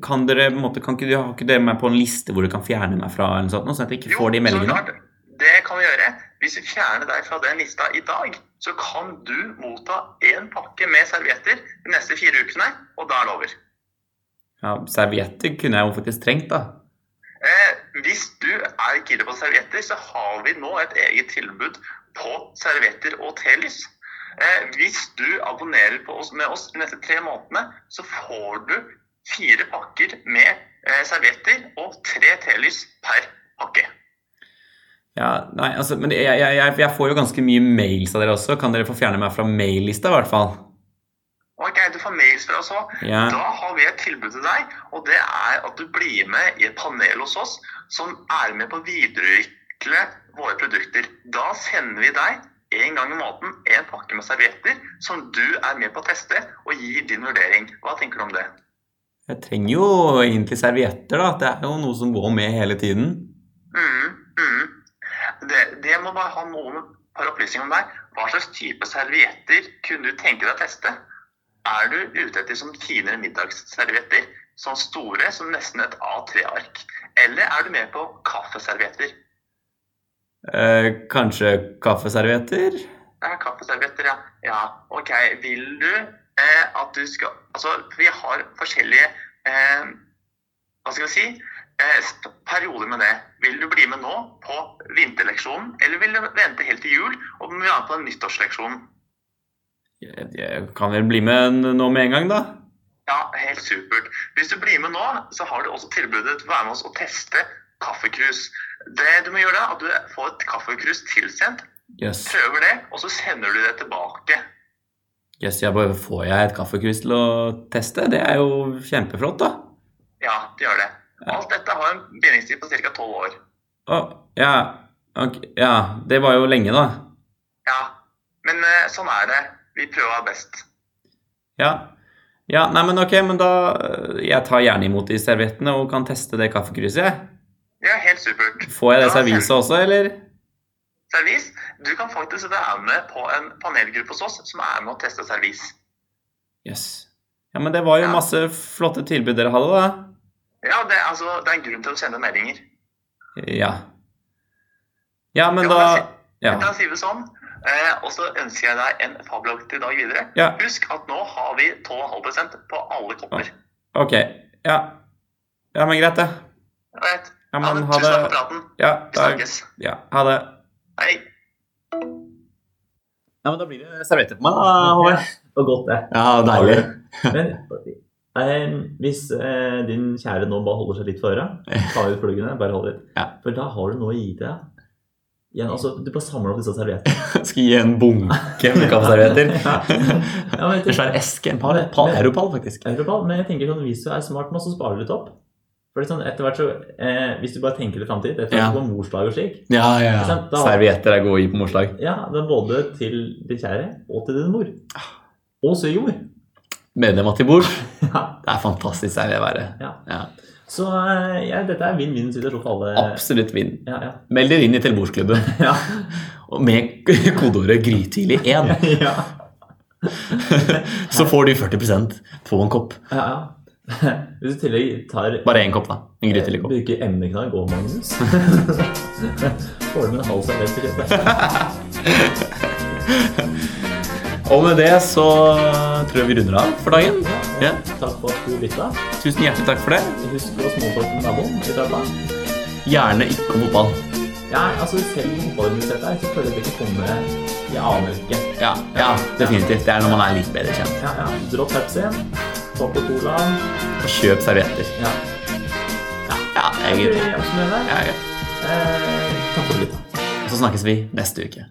A: Kan dere på en måte, kan ikke, du- har ikke dere meg på en liste hvor du kan fjerne meg fra, eller noe sånt, nå, sånn at jeg ikke får de
D: så
A: meldingene?
D: klart, det kan vi gjøre. Hvis vi fjerner deg fra den lista i dag, så kan du motta én pakke med servietter de neste fire ukene, og da er det over.
A: Ja, Servietter kunne jeg jo faktisk trengt, da.
D: Eh, hvis du er keen på servietter, så har vi nå et eget tilbud på servietter og telys. Eh, hvis du abonnerer på oss, med oss de neste tre månedene, så får du fire pakker med eh, servietter og tre telys per pakke.
A: Ja, nei, altså, Men jeg, jeg, jeg, jeg får jo ganske mye mails av dere også. Kan dere få fjerne meg fra maillista, i hvert fall?
D: Ok, du får mails fra oss òg.
A: Ja.
D: Da har vi et tilbud til deg, og det er at du blir med i et panel hos oss som er med på å videreutvikle våre produkter. Da sender vi deg en gang i måneden en pakke med servietter som du er med på å teste og gir din vurdering. Hva tenker du om det?
A: Jeg trenger jo egentlig servietter, da. Det er jo noe som går med hele tiden.
D: Mm, mm. Det, det må bare ha noen par opplysninger om deg. Hva slags type servietter kunne du tenke deg å teste? Er du ute etter sånn finere middagsservietter? Sånn store som nesten et A3-ark? Eller er du med på kaffeservietter?
A: Eh, kanskje kaffeservietter?
D: Ja, kaffeservietter, ja. ja. Ok, vil du eh, at du skal Altså, vi har forskjellige eh, Hva skal vi si? Eh, sp- perioder med det. Vil du bli med nå på vinterleksjonen, eller vil du vente helt til jul og bli med på den nyttårsleksjonen?
A: Jeg, jeg kan vel bli med n- nå med en gang, da?
D: Ja, helt supert. Hvis du blir med nå, så har du også tilbudet til å være med oss og teste kaffekrus. Det du må gjøre, da, er at du får et kaffekrus tilsendt,
A: Jøss, yes.
D: prøver det, og så sender du det tilbake.
A: jeg bare får jeg et kaffekrus til å teste? Det er jo kjempeflott, da.
D: Ja, det gjør det. Alt dette har en bindingstid på ca. tolv år.
A: Å, ja. ok, ja, det var jo lenge, da.
D: Ja, men eh, sånn er det. Vi prøver best.
A: Ja. ja. Nei, men ok, men da eh, Jeg tar gjerne imot de serviettene og kan teste det kaffekruset, jeg.
D: Ja, helt supert.
A: Får jeg det
D: Ja,
A: serviset også, eller?
D: Servis, du kan faktisk være med på en panelgruppe hos oss som er med å teste servis.
A: Jøss. Yes.
E: Ja, men det var jo
D: Ja.
E: masse flotte tilbud dere hadde, da.
D: Ja, det, er altså, det er en grunn til å sende meldinger.
E: Ja. Ja, men
D: Ja,
E: da
D: men
E: Ja.
D: Da sier vi sånn. Eh, og så ønsker jeg deg en fabelaktig dag videre.
E: ja.
D: Husk at nå har vi 12,5 på alle kopper.
E: Ok. Ja. Ja, men greit, det.
D: Jeg vet.
E: Ja,
D: Ja,
E: men
D: men,
E: ha
D: tusen takk for
E: det.
D: praten.
E: Ja,
D: Vi
E: da,
D: snakkes.
E: ja, ha det.
D: Hei.
A: Ja, men da blir det Eh, servietter på meg, da, Håvard.
B: Og godt, det.
A: Ja, deilig. *laughs*
B: Men eh, hvis eh, din kjære nå bare holder seg litt for øret, ta ut pluggene, bare hold litt.
A: Ja.
B: For da har du noe å gi til deg. Igjen, altså, du bare samler opp disse
A: *laughs*
B: serviettene.
A: Skal gi en bunke med *laughs* kaffeservietter.
B: Ja, men jeg
A: En svær eske. En pall. Et pall. Europall, faktisk.
B: Europall, men jeg tenker sånn, hvis du er smart nå, så sparer du litt opp. For det er sånn, etter hvert så, eh, Hvis du bare tenker litt framtid, etter
A: Ja.
B: hvert på morsdag og slik
A: Ja, ja, ja.
B: Sant, da-
A: Servietter er gode å gi på morslag.
B: Ja, det er både til din kjære og til din mor. Og svigermor.
A: Medlem av til bords.
B: *laughs* Ja.
A: Det er fantastisk servievære.
B: Så eh, ja, dette er vinn-vinn-situasjon for
A: Eh,
B: alle.
A: Absolutt vinn.
B: Ja, ja.
A: Meld dere inn i Telebordsklubben
B: ja.
A: *laughs*
B: *laughs*
A: og med *laughs* kodeordet 'grytidlig1', *laughs*
B: ja.
A: så får du 40 på en kopp.
B: ja, ja. *laughs* Hvis du i tillegg tar
A: Bare én kopp, da. En grytidlig kopp.
B: Bruker emneknagg og
A: *laughs*
B: Magnus. Får du med en halv serviett til kjøpet?
A: Eh, Og med det så tror jeg vi runder av for dagen. Ja.
B: Takk for at du lytta.
A: Tusen hjertelig takk for det.
B: Husk å småtalke med naboen i trappa.
A: Gjerne ikke om fotball.
B: Ja, altså selv om fotballinvestert er, så føler jeg det ikke kommer Jeg aner ikke.
A: Ja, ja, definitivt. Det er når man er litt bedre kjent.
B: Ja, ja. Dropp Pepsien. Ta på colaen.
A: Kjøp servietter.
B: Ja.
A: Ja, det er
B: Jeg
A: greit.
B: oppsummerer.
A: Ja, ja.
B: Eh, takk for at du lytta.
A: Så snakkes vi neste uke.